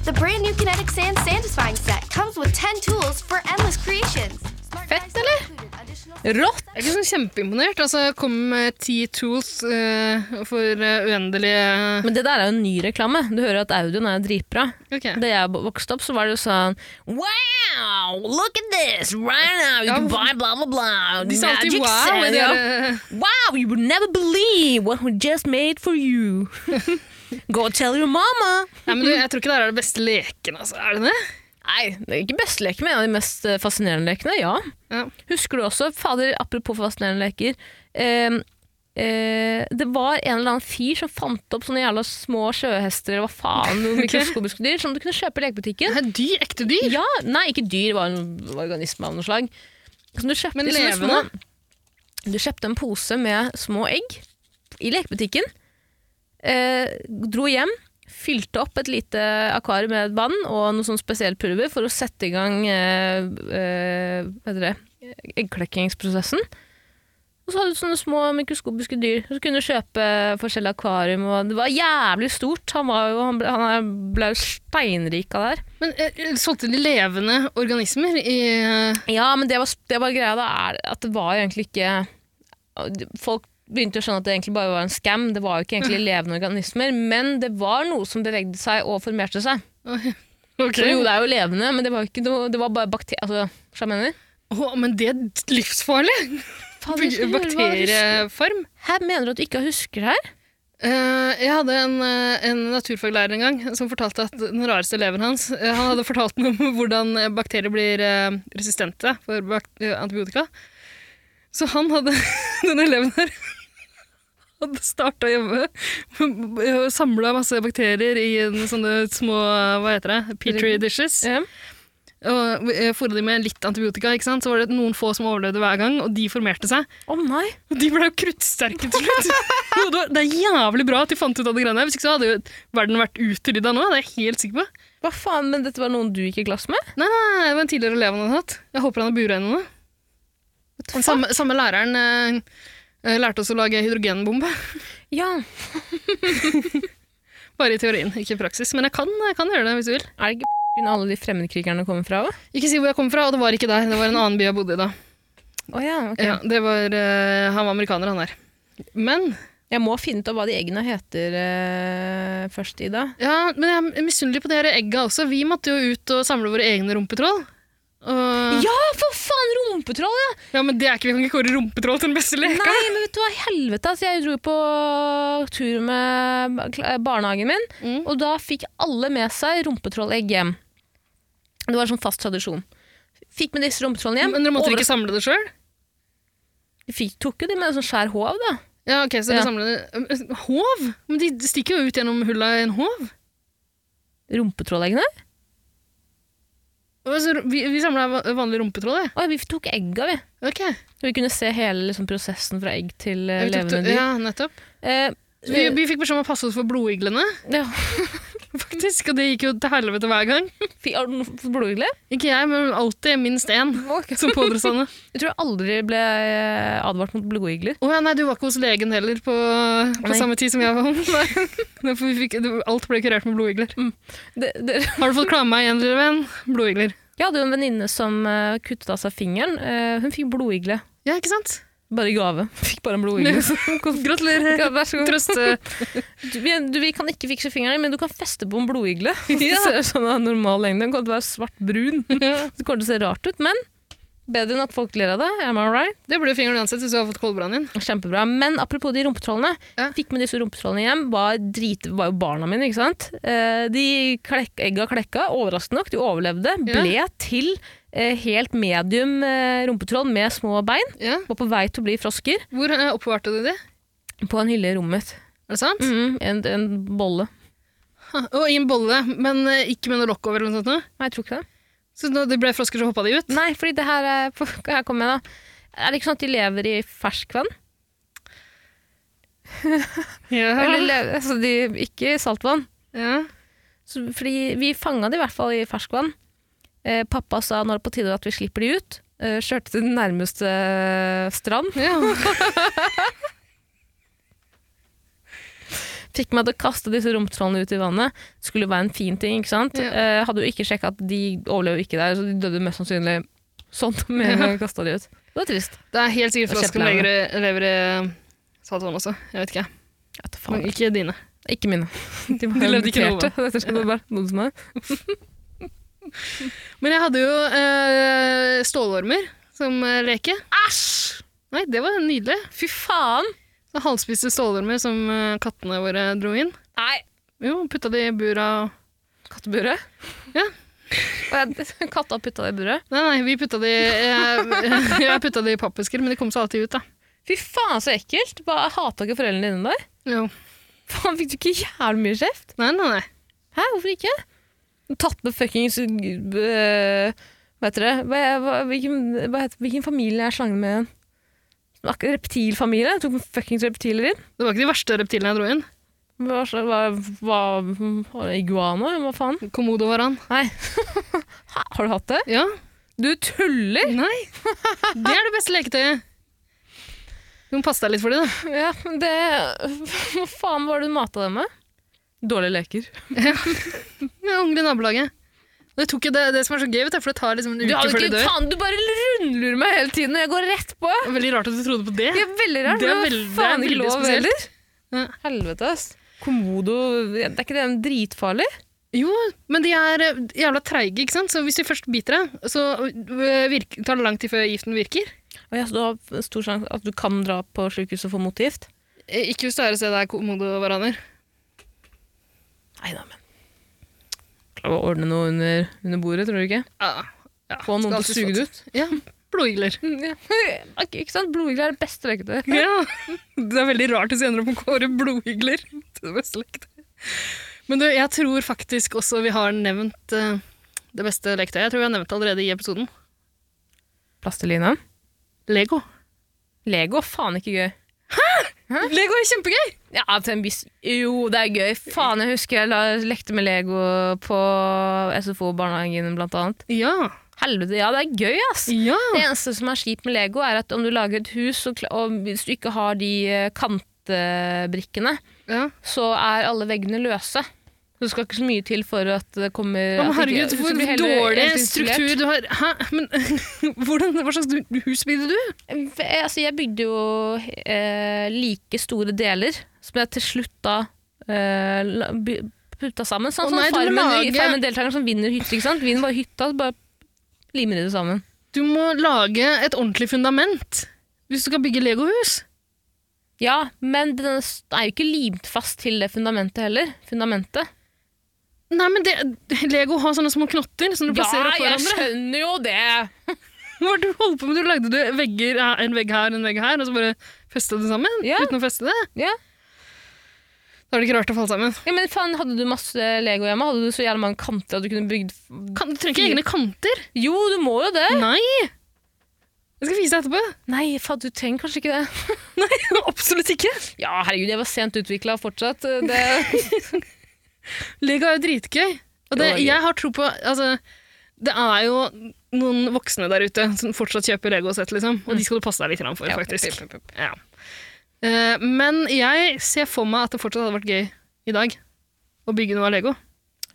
Speaker 4: The brand new Kinetic Sand Satisfying Set comes with 10 tools for endless creations. Smart
Speaker 1: Fett,
Speaker 4: dice
Speaker 1: eller?
Speaker 4: included, additional-
Speaker 3: Rått!
Speaker 2: Jeg er ikke sånn kjempeimponert. Altså, jeg kom med ti tools eh, for eh, uendelige
Speaker 3: Men det der er jo en ny reklame. Du hører at audioen er dritbra.
Speaker 2: Ok.
Speaker 3: Da jeg vokste opp, så var det jo sånn Wow! Look at this! Right now! You
Speaker 2: Ja,
Speaker 3: can buy blah, blah, blah!
Speaker 2: De sa alltid
Speaker 3: Magic
Speaker 2: wow.
Speaker 3: sand,
Speaker 2: i det
Speaker 3: ja.
Speaker 2: der,
Speaker 3: Wow! You would never believe what we just made for
Speaker 2: (laughs)
Speaker 3: you! Go tell your mama!
Speaker 2: Nei, men du, jeg tror ikke det her er det beste leken, altså. Er det det?
Speaker 3: Nei, det er ikke beste leken, men en av de mest eh, fascinerende lekene, ja.
Speaker 2: Ja.
Speaker 3: Husker du også, fader, apropos fascinerende leker eh, eh, Det var en eller annen fyr som fant opp sånne jævla små sjøhester eller hva faen, noen mikroskopiske dyr som du kunne kjøpe i lekebutikken.
Speaker 2: Det er dyr, ekte dyr.
Speaker 3: Ja, nei, ikke dyr, det var en organisme av noe slag. Som du kjøpte,
Speaker 2: Men
Speaker 3: i sånne
Speaker 2: levende?
Speaker 3: små- Du kjøpte en pose med små egg i lekebutikken. Eh, dro hjem, fylte opp et lite akvarium med vann og noe sånn spesielt pulver for å sette i gang eh, eh, hva heter det, eggklekkingsprosessen. Og så hadde du sånne små mikroskopiske dyr. Så kunne du kjøpe forskjellige akvarium. Og det var jævlig stort. Han, var jo, han ble- han ble jo steinrik av det her.
Speaker 2: Men eh, solgte de levende organismer i eh,
Speaker 3: Ja, men det var, det var greia da, er at det var egentlig ikke Folk begynte å skjønne at det egentlig bare var en scam. Det var jo ikke egentlig levende organismer, men det var noe som bevegde seg og formerte seg.
Speaker 2: Ok.
Speaker 3: Så jo, det er jo levende, men det var, ikke noe, det var bare bakterier altså, Hva jeg mener
Speaker 2: Å, men det er livsfarlig!
Speaker 3: Faen, jeg skulle høre hva jeg husker.
Speaker 2: Bakteriefarm.
Speaker 3: Hæ, mener du at du ikke husker det her?
Speaker 2: Eh, jeg hadde en, eh, en naturfaglærer en gang som fortalte at den rareste eleven hans eh, Han hadde fortalt noe om (laughs) hvordan eh, bakterier blir eh, resistente for bak eh, antibiotika. Så han hadde (laughs) denne eleven her (laughs) hadde starta hjemme eh, og samla masse bakterier i en sånne små eh, hva heter det, petri dishes.
Speaker 3: Ja.
Speaker 2: Og eh, fôra de med litt antibiotika. ikke sant? Så var det noen få som overlevde hver gang, og de formerte seg.
Speaker 3: Å nei!
Speaker 2: Og de ble jo kruttsterke til slutt. Jo, det var- det er jævlig bra at de fant ut av det greiene her. Hvis ikke så hadde jo verden vært utrydda nå. Det er jeg helt sikker på.
Speaker 3: Hva faen, men dette var noen du gikk i glass med?
Speaker 2: Nei, nei, nei, det var en tidligere elev han hadde hatt. Jeg håper han har bura henne nå. Den samme, samme læreren eh, eh, lærte oss å lage hydrogenbombe. (laughs)
Speaker 3: Ja.
Speaker 2: Bare i teorien, ikke i praksis. Men jeg kan, jeg kan gjøre det hvis du vil.
Speaker 3: Er det ikke f***en alle de fremmedkrigerne kommer fra òg?
Speaker 2: Ikke si hvor jeg kommer fra, og det var ikke der. Det var en annen by jeg bodde i da.
Speaker 3: Å ja, ok.
Speaker 2: Ja, det var, eh, han var amerikaner, han der. Men
Speaker 3: Jeg må finne ut av hva de eggene heter eh, først, Ida.
Speaker 2: Ja, men jeg er misunnelig på de her egga også. Vi måtte jo ut og samle våre egne rumpetroll. Og...
Speaker 3: Ja, for faen! Rumpetroll, ja!
Speaker 2: Ja, men det er ikke, Vi kan ikke kåre rumpetroll til den beste leka.
Speaker 3: Nei, men vet du hva, helvete. Altså, jeg dro på tur med kla- barnehagen min,
Speaker 2: Mm.
Speaker 3: og da fikk alle med seg rumpetrollegg hjem. Det var en sånn fast tradisjon. Fikk med disse rumpetrollene hjem.
Speaker 2: Men dere måtte
Speaker 3: Overras-
Speaker 2: ikke samle det sjøl?
Speaker 3: Vi fikk, tok jo de med en sånn skjær håv, da.
Speaker 2: Ja, ok, så
Speaker 3: Ja.
Speaker 2: dere samlet det Håv? Men de stikker jo ut gjennom hulla i en håv.
Speaker 3: Rumpetrolleggene.
Speaker 2: Altså, vi vi samla vanlig rumpetroll, jeg.
Speaker 3: Å, vi tok egga, vi.
Speaker 2: Ok.
Speaker 3: Så vi kunne se hele liksom, prosessen fra egg til eh,
Speaker 2: Vi tok
Speaker 3: levende
Speaker 2: to-
Speaker 3: dyr.
Speaker 2: Ja, nettopp.
Speaker 3: Eh,
Speaker 2: Så vi, vi fikk beskjed om å passe oss for blodiglene,
Speaker 3: (laughs) ja.
Speaker 2: (laughs) faktisk. Og det gikk jo til helvete hver gang.
Speaker 3: Fikk- Har du noe blodigler?
Speaker 2: Ikke jeg, men alltid minst én (laughs) som pådro seg det.
Speaker 3: Jeg tror jeg aldri ble eh, advart mot blodigler.
Speaker 2: Å ja, nei, du var ikke hos legen heller på, på
Speaker 3: Nei.
Speaker 2: samme tid som jeg var ung. Nei. (laughs) Derfor vi fikk, det- alt ble kurert med blodigler. (laughs)
Speaker 3: Det, det,
Speaker 2: Har du fått klama igjen, lille venn? Blodigler.
Speaker 3: Jeg hadde jo en venninne som eh, kuttet av seg fingeren. Eh, hun fikk blodigle.
Speaker 2: Ja, ikke sant?
Speaker 3: Bare i gave. (laughs) Fikk bare en blodigle.
Speaker 2: Gratulerer.
Speaker 3: Ja, vær så god.
Speaker 2: Trøste.
Speaker 3: Du, vi, du, vi kan ikke fikse fingeren din, men du kan feste på en (laughs) blodigle. Ja. Ser sånn av normal lengde. Den kommer til å være svart-brun. (laughs) Det kommer til å se rart ut, men bedre enn at folk ler av det. Am I right?
Speaker 2: Det ble fingeren uansett hvis du har fått koldbrann inn.
Speaker 3: Kjempebra. Men apropos de rumpetrollene.
Speaker 2: Ja.
Speaker 3: Fikk med disse rumpetrollene hjem. Var, drit, var jo barna mine, ikke sant. Eh, de klek, egga klekka, overraskende nok. De overlevde.
Speaker 2: Ja.
Speaker 3: Ble til eh, helt medium eh, rumpetroll med små bein.
Speaker 2: Ja.
Speaker 3: Var på vei til å bli frosker.
Speaker 2: Hvor eh, oppbevarte du de?
Speaker 3: På en hylle i rommet.
Speaker 2: Er det sant?
Speaker 3: Mm, en, en bolle.
Speaker 2: Ha, Og i en bolle, men eh, ikke med noe lokk over eller noe sånt noe.
Speaker 3: Nei, jeg tror ikke det.
Speaker 2: Så når de ble frosker, så hoppa de ut?
Speaker 3: Nei, fordi det her, er, (laughs) her kommer jeg da. Er det ikke sånn at de lever i ferskvann? Eller
Speaker 2: Ja.
Speaker 3: lever, altså de, ikke i saltvann.
Speaker 2: ja.
Speaker 3: Så, fordi vi fanga de i hvert fall i ferskvann. Eh, pappa sa nå er det på tide at vi slipper de ut. Eh, kjørte til den nærmeste eh, strand. (laughs) Fikk meg til å kaste disse romtrollene ut i vannet. Skulle jo være en fin ting, ikke sant?
Speaker 2: Ja.
Speaker 3: Eh, hadde jo ikke sjekka at de overlever jo ikke der, så de døde mest sannsynlig sånn (laughs) med en gang kasta de ut. Det var trist.
Speaker 2: Det er helt sikkert
Speaker 3: Det er
Speaker 2: frosker som
Speaker 3: kjempelenge.
Speaker 2: lever, lever i eh, saltvann også. Jeg vet ikke.
Speaker 3: Jeg vet da faen.
Speaker 2: Men ikke dine.
Speaker 3: Ikke mine. (laughs) De var
Speaker 2: De levde ikke noe.
Speaker 3: muterte. (laughs) Dette skjedde bare noen som er.
Speaker 2: Men jeg hadde jo eh, stålormer som eh, leke. Æsj! Nei, det var nydelig.
Speaker 3: Fy faen!
Speaker 2: Så halvspiste stålormer som eh, kattene våre dro inn.
Speaker 3: Nei!
Speaker 2: Jo, putta de i bura og
Speaker 3: Katteburet?
Speaker 2: Ja.
Speaker 3: Og jeg- (laughs) Katta putta det i buret.
Speaker 2: Nei, nei, vi putta de Jeg, (laughs) jeg putta de i pappesker, men de kom seg alltid ut, da.
Speaker 3: Fy faen, så ekkelt! Hva Hata ikke foreldrene dine der? (laughs)
Speaker 2: Jo.
Speaker 3: Faen, fikk du ikke jævlig mye kjeft?
Speaker 2: Nei, nei, nei.
Speaker 3: Hæ, hvorfor ikke? Tatt med fuckings øh, Hva heter det? Hva, hva, hvilken, hva heter, hvilken familie er slangen med igjen? Ak- Reptilfamilie? Tok med fuckings reptiler inn?
Speaker 2: Det var ikke de verste reptilene jeg dro inn.
Speaker 3: Hva, sla- hva, hva Iguana? Hva faen?
Speaker 2: Komodovaran.
Speaker 3: Nei. Hæ, Har du hatt det?
Speaker 2: Ja.
Speaker 3: Du tuller! (laughs)
Speaker 2: Nei. Det er det beste leketøyet. Du må passe deg litt for det, da.
Speaker 3: Ja, men det (laughs) Hva faen var det du mata dem med? Dårlige leker.
Speaker 2: Ja, Unger i nabolaget. Det, tok jo det, det som er så gøy, vet du, for det tar liksom en
Speaker 3: Du,
Speaker 2: uke
Speaker 3: hadde
Speaker 2: før de
Speaker 3: ikke,
Speaker 2: dør.
Speaker 3: faen, du bare rundlurer meg hele tiden, og jeg går rett på!
Speaker 2: Veldig rart at du trodde på det.
Speaker 3: Det er veldig rart.
Speaker 2: Det
Speaker 3: Det
Speaker 2: er
Speaker 3: er,
Speaker 2: veld- det er
Speaker 3: faen ikke
Speaker 2: veldig
Speaker 3: lov
Speaker 2: spesielt.
Speaker 3: heller.
Speaker 2: Ja.
Speaker 3: Helvete, ass. Komodo Det er ikke det en dritfarlig?
Speaker 2: Jo, men de er eh, jævla treige, ikke sant? Så hvis de først biter deg, så eh, virker, tar det lang tid før giften virker.
Speaker 3: Og jeg, så du har stor sjanse at du kan dra på sjukehuset og få motgift?
Speaker 2: Eh, Ikke hvis du er et sted der komodovaraner.
Speaker 3: Nei da, men Klarer å ordne noe under, under bordet, tror du ikke?
Speaker 2: Ja. ja.
Speaker 3: Få
Speaker 2: skal
Speaker 3: noen til å
Speaker 2: alltid
Speaker 3: suge
Speaker 2: få-
Speaker 3: det ut?
Speaker 2: Ja. Blodigler.
Speaker 3: (laughs) Ja. Ok, Ikke sant? Blodigler er det beste leketøyet.
Speaker 2: Ja. (laughs) Det er veldig rart hvis jeg ender opp med å kåre blodigler til det beste leketøyet. Men du, jeg tror faktisk også vi har nevnt eh, det beste leketøyet. Jeg tror vi har nevnt det allerede i episoden.
Speaker 3: Plastelina.
Speaker 2: Lego.
Speaker 3: Lego, faen ikke gøy.
Speaker 2: Lego er kjempegøy!
Speaker 3: Ja, til en viss Jo, det er gøy. Faen, jeg husker jeg la, lekte med Lego på SFO-barnehagen, blant annet.
Speaker 2: Ja.
Speaker 3: Helvete, ja, det er gøy, ass.
Speaker 2: Ja.
Speaker 3: Det eneste som er kjipt med Lego, er at om du lager et hus, og, kla- og hvis du ikke har de eh, kantbrikkene,
Speaker 2: ja.
Speaker 3: så er alle veggene løse. Så det skal ikke så mye til for at det kommer
Speaker 2: Ja, men
Speaker 3: at det ikke-
Speaker 2: herregud,
Speaker 3: huset
Speaker 2: hvor
Speaker 3: blir heller-
Speaker 2: dårlig
Speaker 3: helt isolert.
Speaker 2: struktur du har. Hæ? Men (laughs) hvordan, hva slags du- hus bygde du?
Speaker 3: V- Altså, jeg bygde jo eh, like store deler, som jeg til slutt da eh, la- by- putta sammen. Sånn
Speaker 2: Å
Speaker 3: som
Speaker 2: nei, du må
Speaker 3: farmen,
Speaker 2: lage-
Speaker 3: farmen deltakeren som vinner hytte, ikke sant? Vinner bare hytta, så bare limer de det sammen.
Speaker 2: Du må lage et ordentlig fundament hvis du skal bygge legohus.
Speaker 3: Ja, men den s- er jo ikke limt fast til det fundamentet heller. Fundamentet.
Speaker 2: Nei, men det, Lego har sånne små knotter som du plasserer opp hverandre.
Speaker 3: skjønner jo det!
Speaker 2: (laughs) Hva var det du holdt på med? Du lagde du vegger, ja, en vegg her, en vegg her, og så bare festa det sammen?
Speaker 3: Ja.
Speaker 2: Uten å feste det?
Speaker 3: Ja.
Speaker 2: Da er det ikke rart å falle sammen.
Speaker 3: ja, Men faen, hadde du masse Lego hjemme? Hadde du så jævlig mange kanter at du kunne bygd
Speaker 2: Kan, du trenger ikke egne kanter.
Speaker 3: Jo, du må jo det!
Speaker 2: Nei! Jeg skal vise deg etterpå.
Speaker 3: Nei, faen, du trenger kanskje ikke det. (laughs)
Speaker 2: Absolutt ikke.
Speaker 3: Ja, herregud, jeg var sent utvikla fortsatt. Det
Speaker 2: Lego er jo dritgøy. Og det,
Speaker 3: Jo, det er gøy.
Speaker 2: jeg har tro på altså, Det er jo noen voksne der ute som fortsatt kjøper Lego-sett, liksom. Og de skal du passe deg litt grann for,
Speaker 3: Mm. Ja,
Speaker 2: faktisk.
Speaker 3: pip, pip, pip.
Speaker 2: Ja. Eh, men jeg ser for meg at det fortsatt hadde vært gøy i dag å bygge noe av Lego.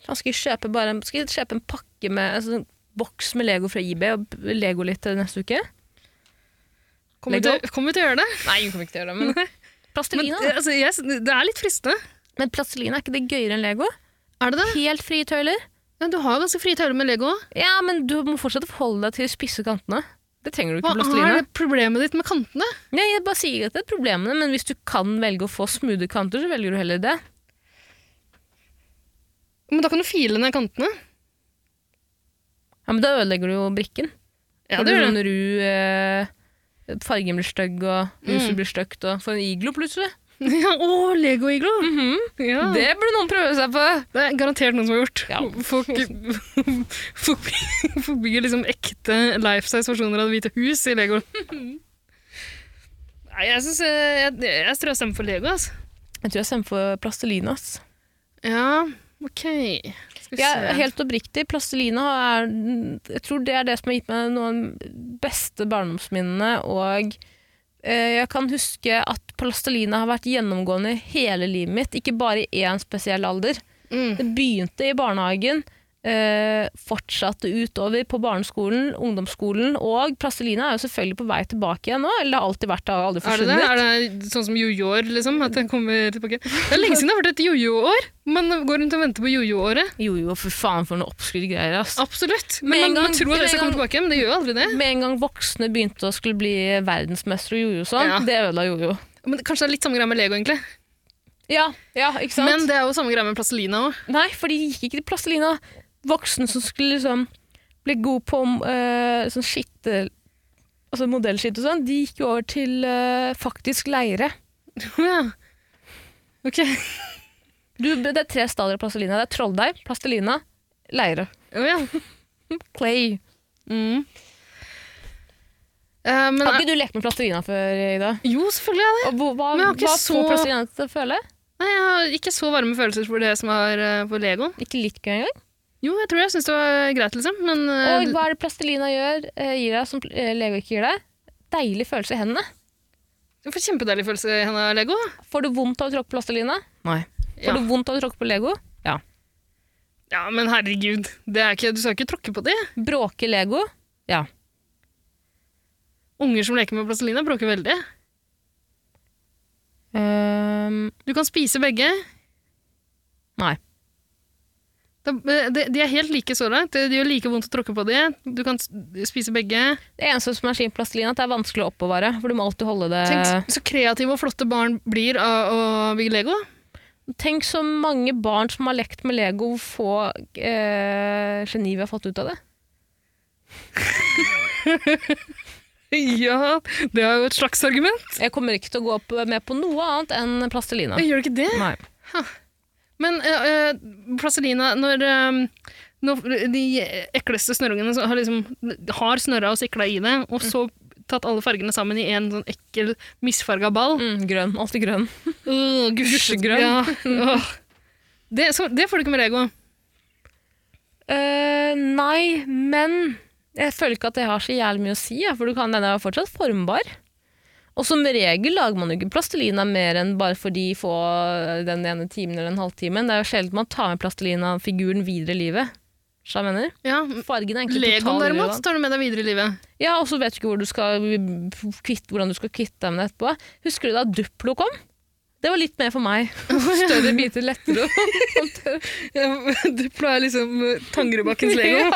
Speaker 3: Faen, (laughs) skal jeg kjøpe, bare, en- skal jeg kjøpe en pakke med altså, en boks med Lego fra IB og b- Lego litt til neste uke?
Speaker 2: Kommer vi,
Speaker 3: Lego?
Speaker 2: til, kommer vi til å gjøre det?
Speaker 3: Nei, hun kommer ikke til å gjøre det, men (laughs)
Speaker 2: Men,
Speaker 3: Plastelina.
Speaker 2: eh, altså, jeg, det er litt fristende.
Speaker 3: Men plastelina, er ikke det gøyere enn Lego?
Speaker 2: Er det det?
Speaker 3: Helt frie tøyler.
Speaker 2: Ja, du har jo ganske frie tøyler med Lego.
Speaker 3: Ja, men du må fortsatt forholde deg til de spisse kantene. Det trenger du
Speaker 2: Hva
Speaker 3: ikke
Speaker 2: er
Speaker 3: plastelina.
Speaker 2: det problemet ditt med kantene?
Speaker 3: Nei, jeg bare sier at det er problemene, men hvis du kan velge å få smoothe kanter, så velger du heller det.
Speaker 2: Men da kan du file ned kantene.
Speaker 3: Ja, men da ødelegger du jo brikken.
Speaker 2: Ja, det
Speaker 3: Får du
Speaker 2: gjør det.
Speaker 3: sånn ru, eh, fargen blir stygg, og huset
Speaker 2: Mm.
Speaker 3: blir stygt, og får en iglo plutselig.
Speaker 2: (laughs) Ja, å, Lego-iglo! ja.
Speaker 3: Mhm. Det burde noen prøve seg på!
Speaker 2: Det er garantert noen som har gjort.
Speaker 3: Ja.
Speaker 2: Folk, (laughs) folk, folk bygger liksom ekte life-size versjoner av Det hvite hus i Lego. Nei, jeg, synes, eh, jeg, jeg tror jeg stemmer for Lego. Altså.
Speaker 3: Jeg tror jeg stemmer for plastelina. ass.
Speaker 2: Ja, Ok. Skal vi
Speaker 3: Ja,
Speaker 2: se.
Speaker 3: helt oppriktig, plastelina er Jeg tror det er det som har gitt meg noen av de beste barndomsminnene, og eh, jeg kan huske at plastelina har vært gjennomgående i hele livet mitt, ikke bare i én spesiell alder.
Speaker 2: Mm.
Speaker 3: Det begynte i barnehagen, eh, fortsatte utover på barneskolen, ungdomsskolen, og plastelina er jo selvfølgelig på vei tilbake igjen nå, eller det har alltid vært det, har aldri
Speaker 2: Er det det?
Speaker 3: forsvunnet.
Speaker 2: Er det sånn som jojo-år, liksom? At den kommer tilbake? Det er lenge siden det har vært et jojo-år. Man går rundt og venter på jojo-året.
Speaker 3: Jo jo, for faen for noe oppskrytt greier, ass.
Speaker 2: Absolutt.
Speaker 3: Med
Speaker 2: Men
Speaker 3: en
Speaker 2: man, man
Speaker 3: gang-
Speaker 2: tror at
Speaker 3: med
Speaker 2: det skal
Speaker 3: en
Speaker 2: komme tilbake, men det gjør jo aldri det.
Speaker 3: Med en gang voksne begynte å skulle bli verdensmestere og jojo og sånn,
Speaker 2: Ja.
Speaker 3: det ødela jojo.
Speaker 2: Men Kanskje det er litt samme greia med Lego, egentlig.
Speaker 3: Ja, ja, ikke sant?
Speaker 2: Men det er jo samme greia med plastelina
Speaker 3: (laughs)
Speaker 2: òg.
Speaker 3: Nei, for de gikk ikke til plastelina. Voksne som skulle liksom bli gode på eh, sånn skitte... Altså modellskitt og sånn, de gikk jo over til eh, faktisk leire.
Speaker 2: Ja. Ok.
Speaker 3: Du, det er tre stadier av plastelina. Det er trolldeig, plastelina, leire.
Speaker 2: Å ja.
Speaker 3: Clay.
Speaker 2: Mm. Eh, men
Speaker 3: Har ikke du lekt med plastelina før, Ida?
Speaker 2: Jo, selvfølgelig er det.
Speaker 3: Og hvor- hva
Speaker 2: Men jeg har ikke
Speaker 3: hva
Speaker 2: så-
Speaker 3: får plastelina til å føle?
Speaker 2: Nei, jeg har ikke så varme følelser for det som er eh, på Lego.
Speaker 3: Ikke litt gøy engang?
Speaker 2: Jo, jeg tror jeg syns det var greit, liksom. Men eh,
Speaker 3: Og hva er det plastelina gjør, eh, gir deg, som pl- eh, Lego ikke gir deg? Deilig følelse i hendene.
Speaker 2: jeg får kjempedeilig følelse i henne av Lego.
Speaker 3: Får du vondt av å tråkke på plastelina? Nei. Får
Speaker 2: Ja.
Speaker 3: du vondt av å tråkke på Lego? Ja.
Speaker 2: Ja, men herregud. Det er ikke, du skal ikke tråkke på det.
Speaker 3: Bråke Lego? Ja.
Speaker 2: Unger som leker med plastelina, bråker veldig.
Speaker 3: Ehm,
Speaker 2: Du kan spise begge.
Speaker 3: Nei.
Speaker 2: Da- eh, De, de er helt like så langt. Det gjør like vondt å tråkke på de. Du kan s- spise begge.
Speaker 3: det eneste som er fint med plastelina, er at det er vanskelig å oppbevare. For du må alltid holde det
Speaker 2: Tenk s- så kreative og flotte barn blir av å bygge Lego. (laughs)
Speaker 3: Tenk så mange barn som har lekt med Lego, hvor få eh, geni vi har fått ut av det.
Speaker 2: Ja, det er jo et slags argument.
Speaker 3: Jeg kommer ikke til å gå opp med på noe annet enn plastelina.
Speaker 2: Jeg gjør ikke det.
Speaker 3: Nei.
Speaker 2: Men eh, eh, plastelina, når, eh, når de ekleste snørrungene så har, liksom, har snørra og sikla i det, og så tatt alle fargene sammen i en sånn ekkel, misfarga ball,
Speaker 3: Mm, grønn. Alltid grønn.
Speaker 2: Øh, gusje-
Speaker 3: Gusjegrønn.
Speaker 2: Ja. åh. Det, så, det får du ikke med Lego.
Speaker 3: Eh, nei, men jeg føler ikke at det har så jævlig mye å si, ja, for du kan, den er jo fortsatt formbar. Og som regel lager man jo ikke plastelina mer enn bare for de få eh, den ene timen eller en halvtimen. Det er jo sjelden man tar med plastelina-figuren videre i livet. Så jeg mener.
Speaker 2: Ja,
Speaker 3: Fargen er egentlig
Speaker 2: Legoen
Speaker 3: totalt
Speaker 2: derimot
Speaker 3: irrelevant.
Speaker 2: tar du med deg videre i livet.
Speaker 3: Ja, og så vet du ikke hvor du skal kvitt, hvordan du skal kvitte deg med det etterpå. Husker du da Duplo kom? Det var litt mer for
Speaker 2: (laughs)
Speaker 3: meg. Større biter lettere å håndtere.
Speaker 2: Du pleier liksom eh, Tangerudbakkens (laughs) Lego.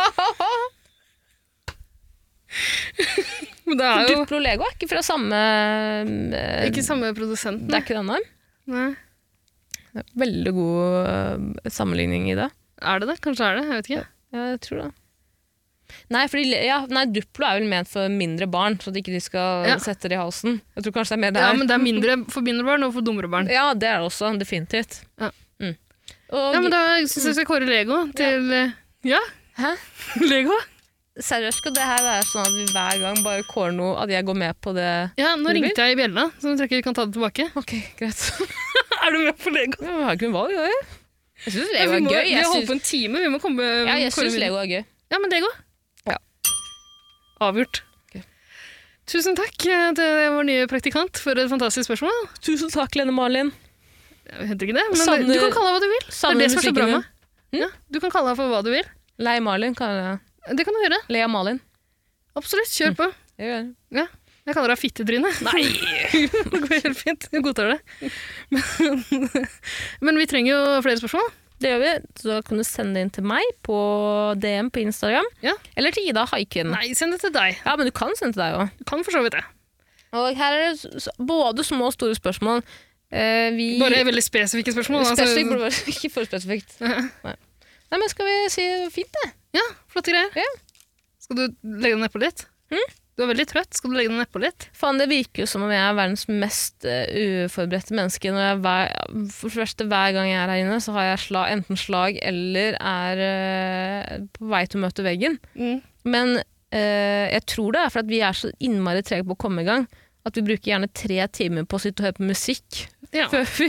Speaker 2: Men det er jo
Speaker 3: Duplo Lego er ikke fra samme eh,
Speaker 2: ikke samme produsenten.
Speaker 3: Det er ikke denne.
Speaker 2: Nei.
Speaker 3: Veldig god eh, sammenligning i det.
Speaker 2: Er det det? Kanskje er det? Jeg vet ikke.
Speaker 3: Ja, jeg tror det. Nei, fordi, le- ja, nei, Duplo er vel ment for mindre barn, så at ikke de skal
Speaker 2: Ja.
Speaker 3: sette det i halsen. Jeg tror kanskje det er mer det
Speaker 2: Ja,
Speaker 3: her.
Speaker 2: men det er mindre for mindre barn og for dummere barn.
Speaker 3: Ja, det er det også. Definitivt.
Speaker 2: Ja.
Speaker 3: Mm. Og,
Speaker 2: Ja, men da syns jeg vi skal kåre Lego til eh, Ja,
Speaker 3: Hæ?
Speaker 2: (laughs) Lego.
Speaker 3: Seriøst, skal det her være sånn at vi hver gang bare kårer noe, at jeg går med på det?
Speaker 2: Ja, nå
Speaker 3: Vil du?
Speaker 2: ringte jeg i bjella, så nå tror jeg ikke vi kan ta det tilbake.
Speaker 3: Ok, greit.
Speaker 2: (laughs)
Speaker 3: (laughs)
Speaker 2: Er du med på Lego?
Speaker 3: Vi har ikke noe valg, gjør vi? Jeg syns
Speaker 2: Ja, vi,
Speaker 3: Lego er
Speaker 2: må,
Speaker 3: gøy.
Speaker 2: vi
Speaker 3: Jeg
Speaker 2: har holdt
Speaker 3: syns-
Speaker 2: på en time, vi må komme
Speaker 3: Ja, jeg
Speaker 2: kåre
Speaker 3: syns
Speaker 2: videre.
Speaker 3: Lego er gøy.
Speaker 2: Ja, men det går.
Speaker 3: Ja.
Speaker 2: Avgjort.
Speaker 3: Ok.
Speaker 2: Tusen takk eh, til vår nye praktikant for et fantastisk spørsmål.
Speaker 3: Tusen takk, Lene Marlin.
Speaker 2: Jeg heter ikke det, men
Speaker 3: Savner-
Speaker 2: du kan kalle henne hva du vil. Det er det som er så bra med.
Speaker 3: din.
Speaker 2: Ja, du kan kalle henne for hva du vil.
Speaker 3: Lei Marlin, kan jeg
Speaker 2: Det kan du gjøre.
Speaker 3: Lea Malin.
Speaker 2: Absolutt.
Speaker 3: Mm.
Speaker 2: Kjør på.
Speaker 3: Jeg gjør det.
Speaker 2: Jeg kaller deg fittetryne. Nei! (laughs) det går helt fint. Jeg godtar det. Men, (laughs) men vi trenger jo flere spørsmål.
Speaker 3: Det gjør vi. Så da kan du sende det inn til meg på DM på Instagram.
Speaker 2: Ja.
Speaker 3: Eller til Ida Haiken.
Speaker 2: Nei, send det til deg.
Speaker 3: Ja, men du kan sende til deg òg.
Speaker 2: Du kan for så vidt det.
Speaker 3: Og her er det s- s- både små og store spørsmål. Eh, vi
Speaker 2: Bare veldig spesifikke spørsmål. altså-
Speaker 3: Spesifikt burde være- (laughs) Ikke for spesifikt. Nei. Nei, men skal vi si fint, det?
Speaker 2: Ja, flotte greier.
Speaker 3: Ja. Hm?
Speaker 2: Skal du legge deg nedpå litt? Du er veldig trøtt. Skal du legge deg nedpå litt?
Speaker 3: Faen, det virker jo som om jeg er verdens mest eh, uforberedte menneske. Når jeg hver, for det første, hver gang jeg er her inne, så har jeg sla, enten slag eller er eh, på vei til å møte veggen. Men eh, jeg tror det er fordi vi er så innmari trege på å komme i gang. At vi bruker gjerne tre timer på å sitte og høre på musikk
Speaker 2: Ja.
Speaker 3: før, vi,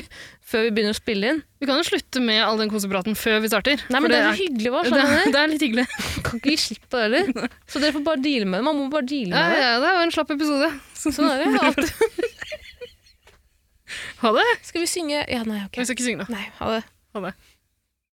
Speaker 3: før vi begynner å spille inn.
Speaker 2: Vi kan jo slutte med all den kosepraten før vi starter.
Speaker 3: Nei,
Speaker 2: for
Speaker 3: men det er
Speaker 2: det
Speaker 3: så hyggelig, altså. hva?
Speaker 2: er- (laughs) det,
Speaker 3: Skjønner
Speaker 2: er-
Speaker 3: du?
Speaker 2: det er litt hyggelig.
Speaker 3: Kan ikke gi slipp på
Speaker 2: (laughs)
Speaker 3: det heller. Så dere får bare deale med det. Man må bare deale
Speaker 2: Ja,
Speaker 3: med det.
Speaker 2: ja, det var en slapp episode. (laughs)
Speaker 3: Sånn er det. Alt.
Speaker 2: Ha det.
Speaker 3: Skal vi synge Ja, nei,
Speaker 2: Vi
Speaker 3: ok.
Speaker 2: skal ikke synge nå.
Speaker 3: Nei, ha det.
Speaker 2: Ha det.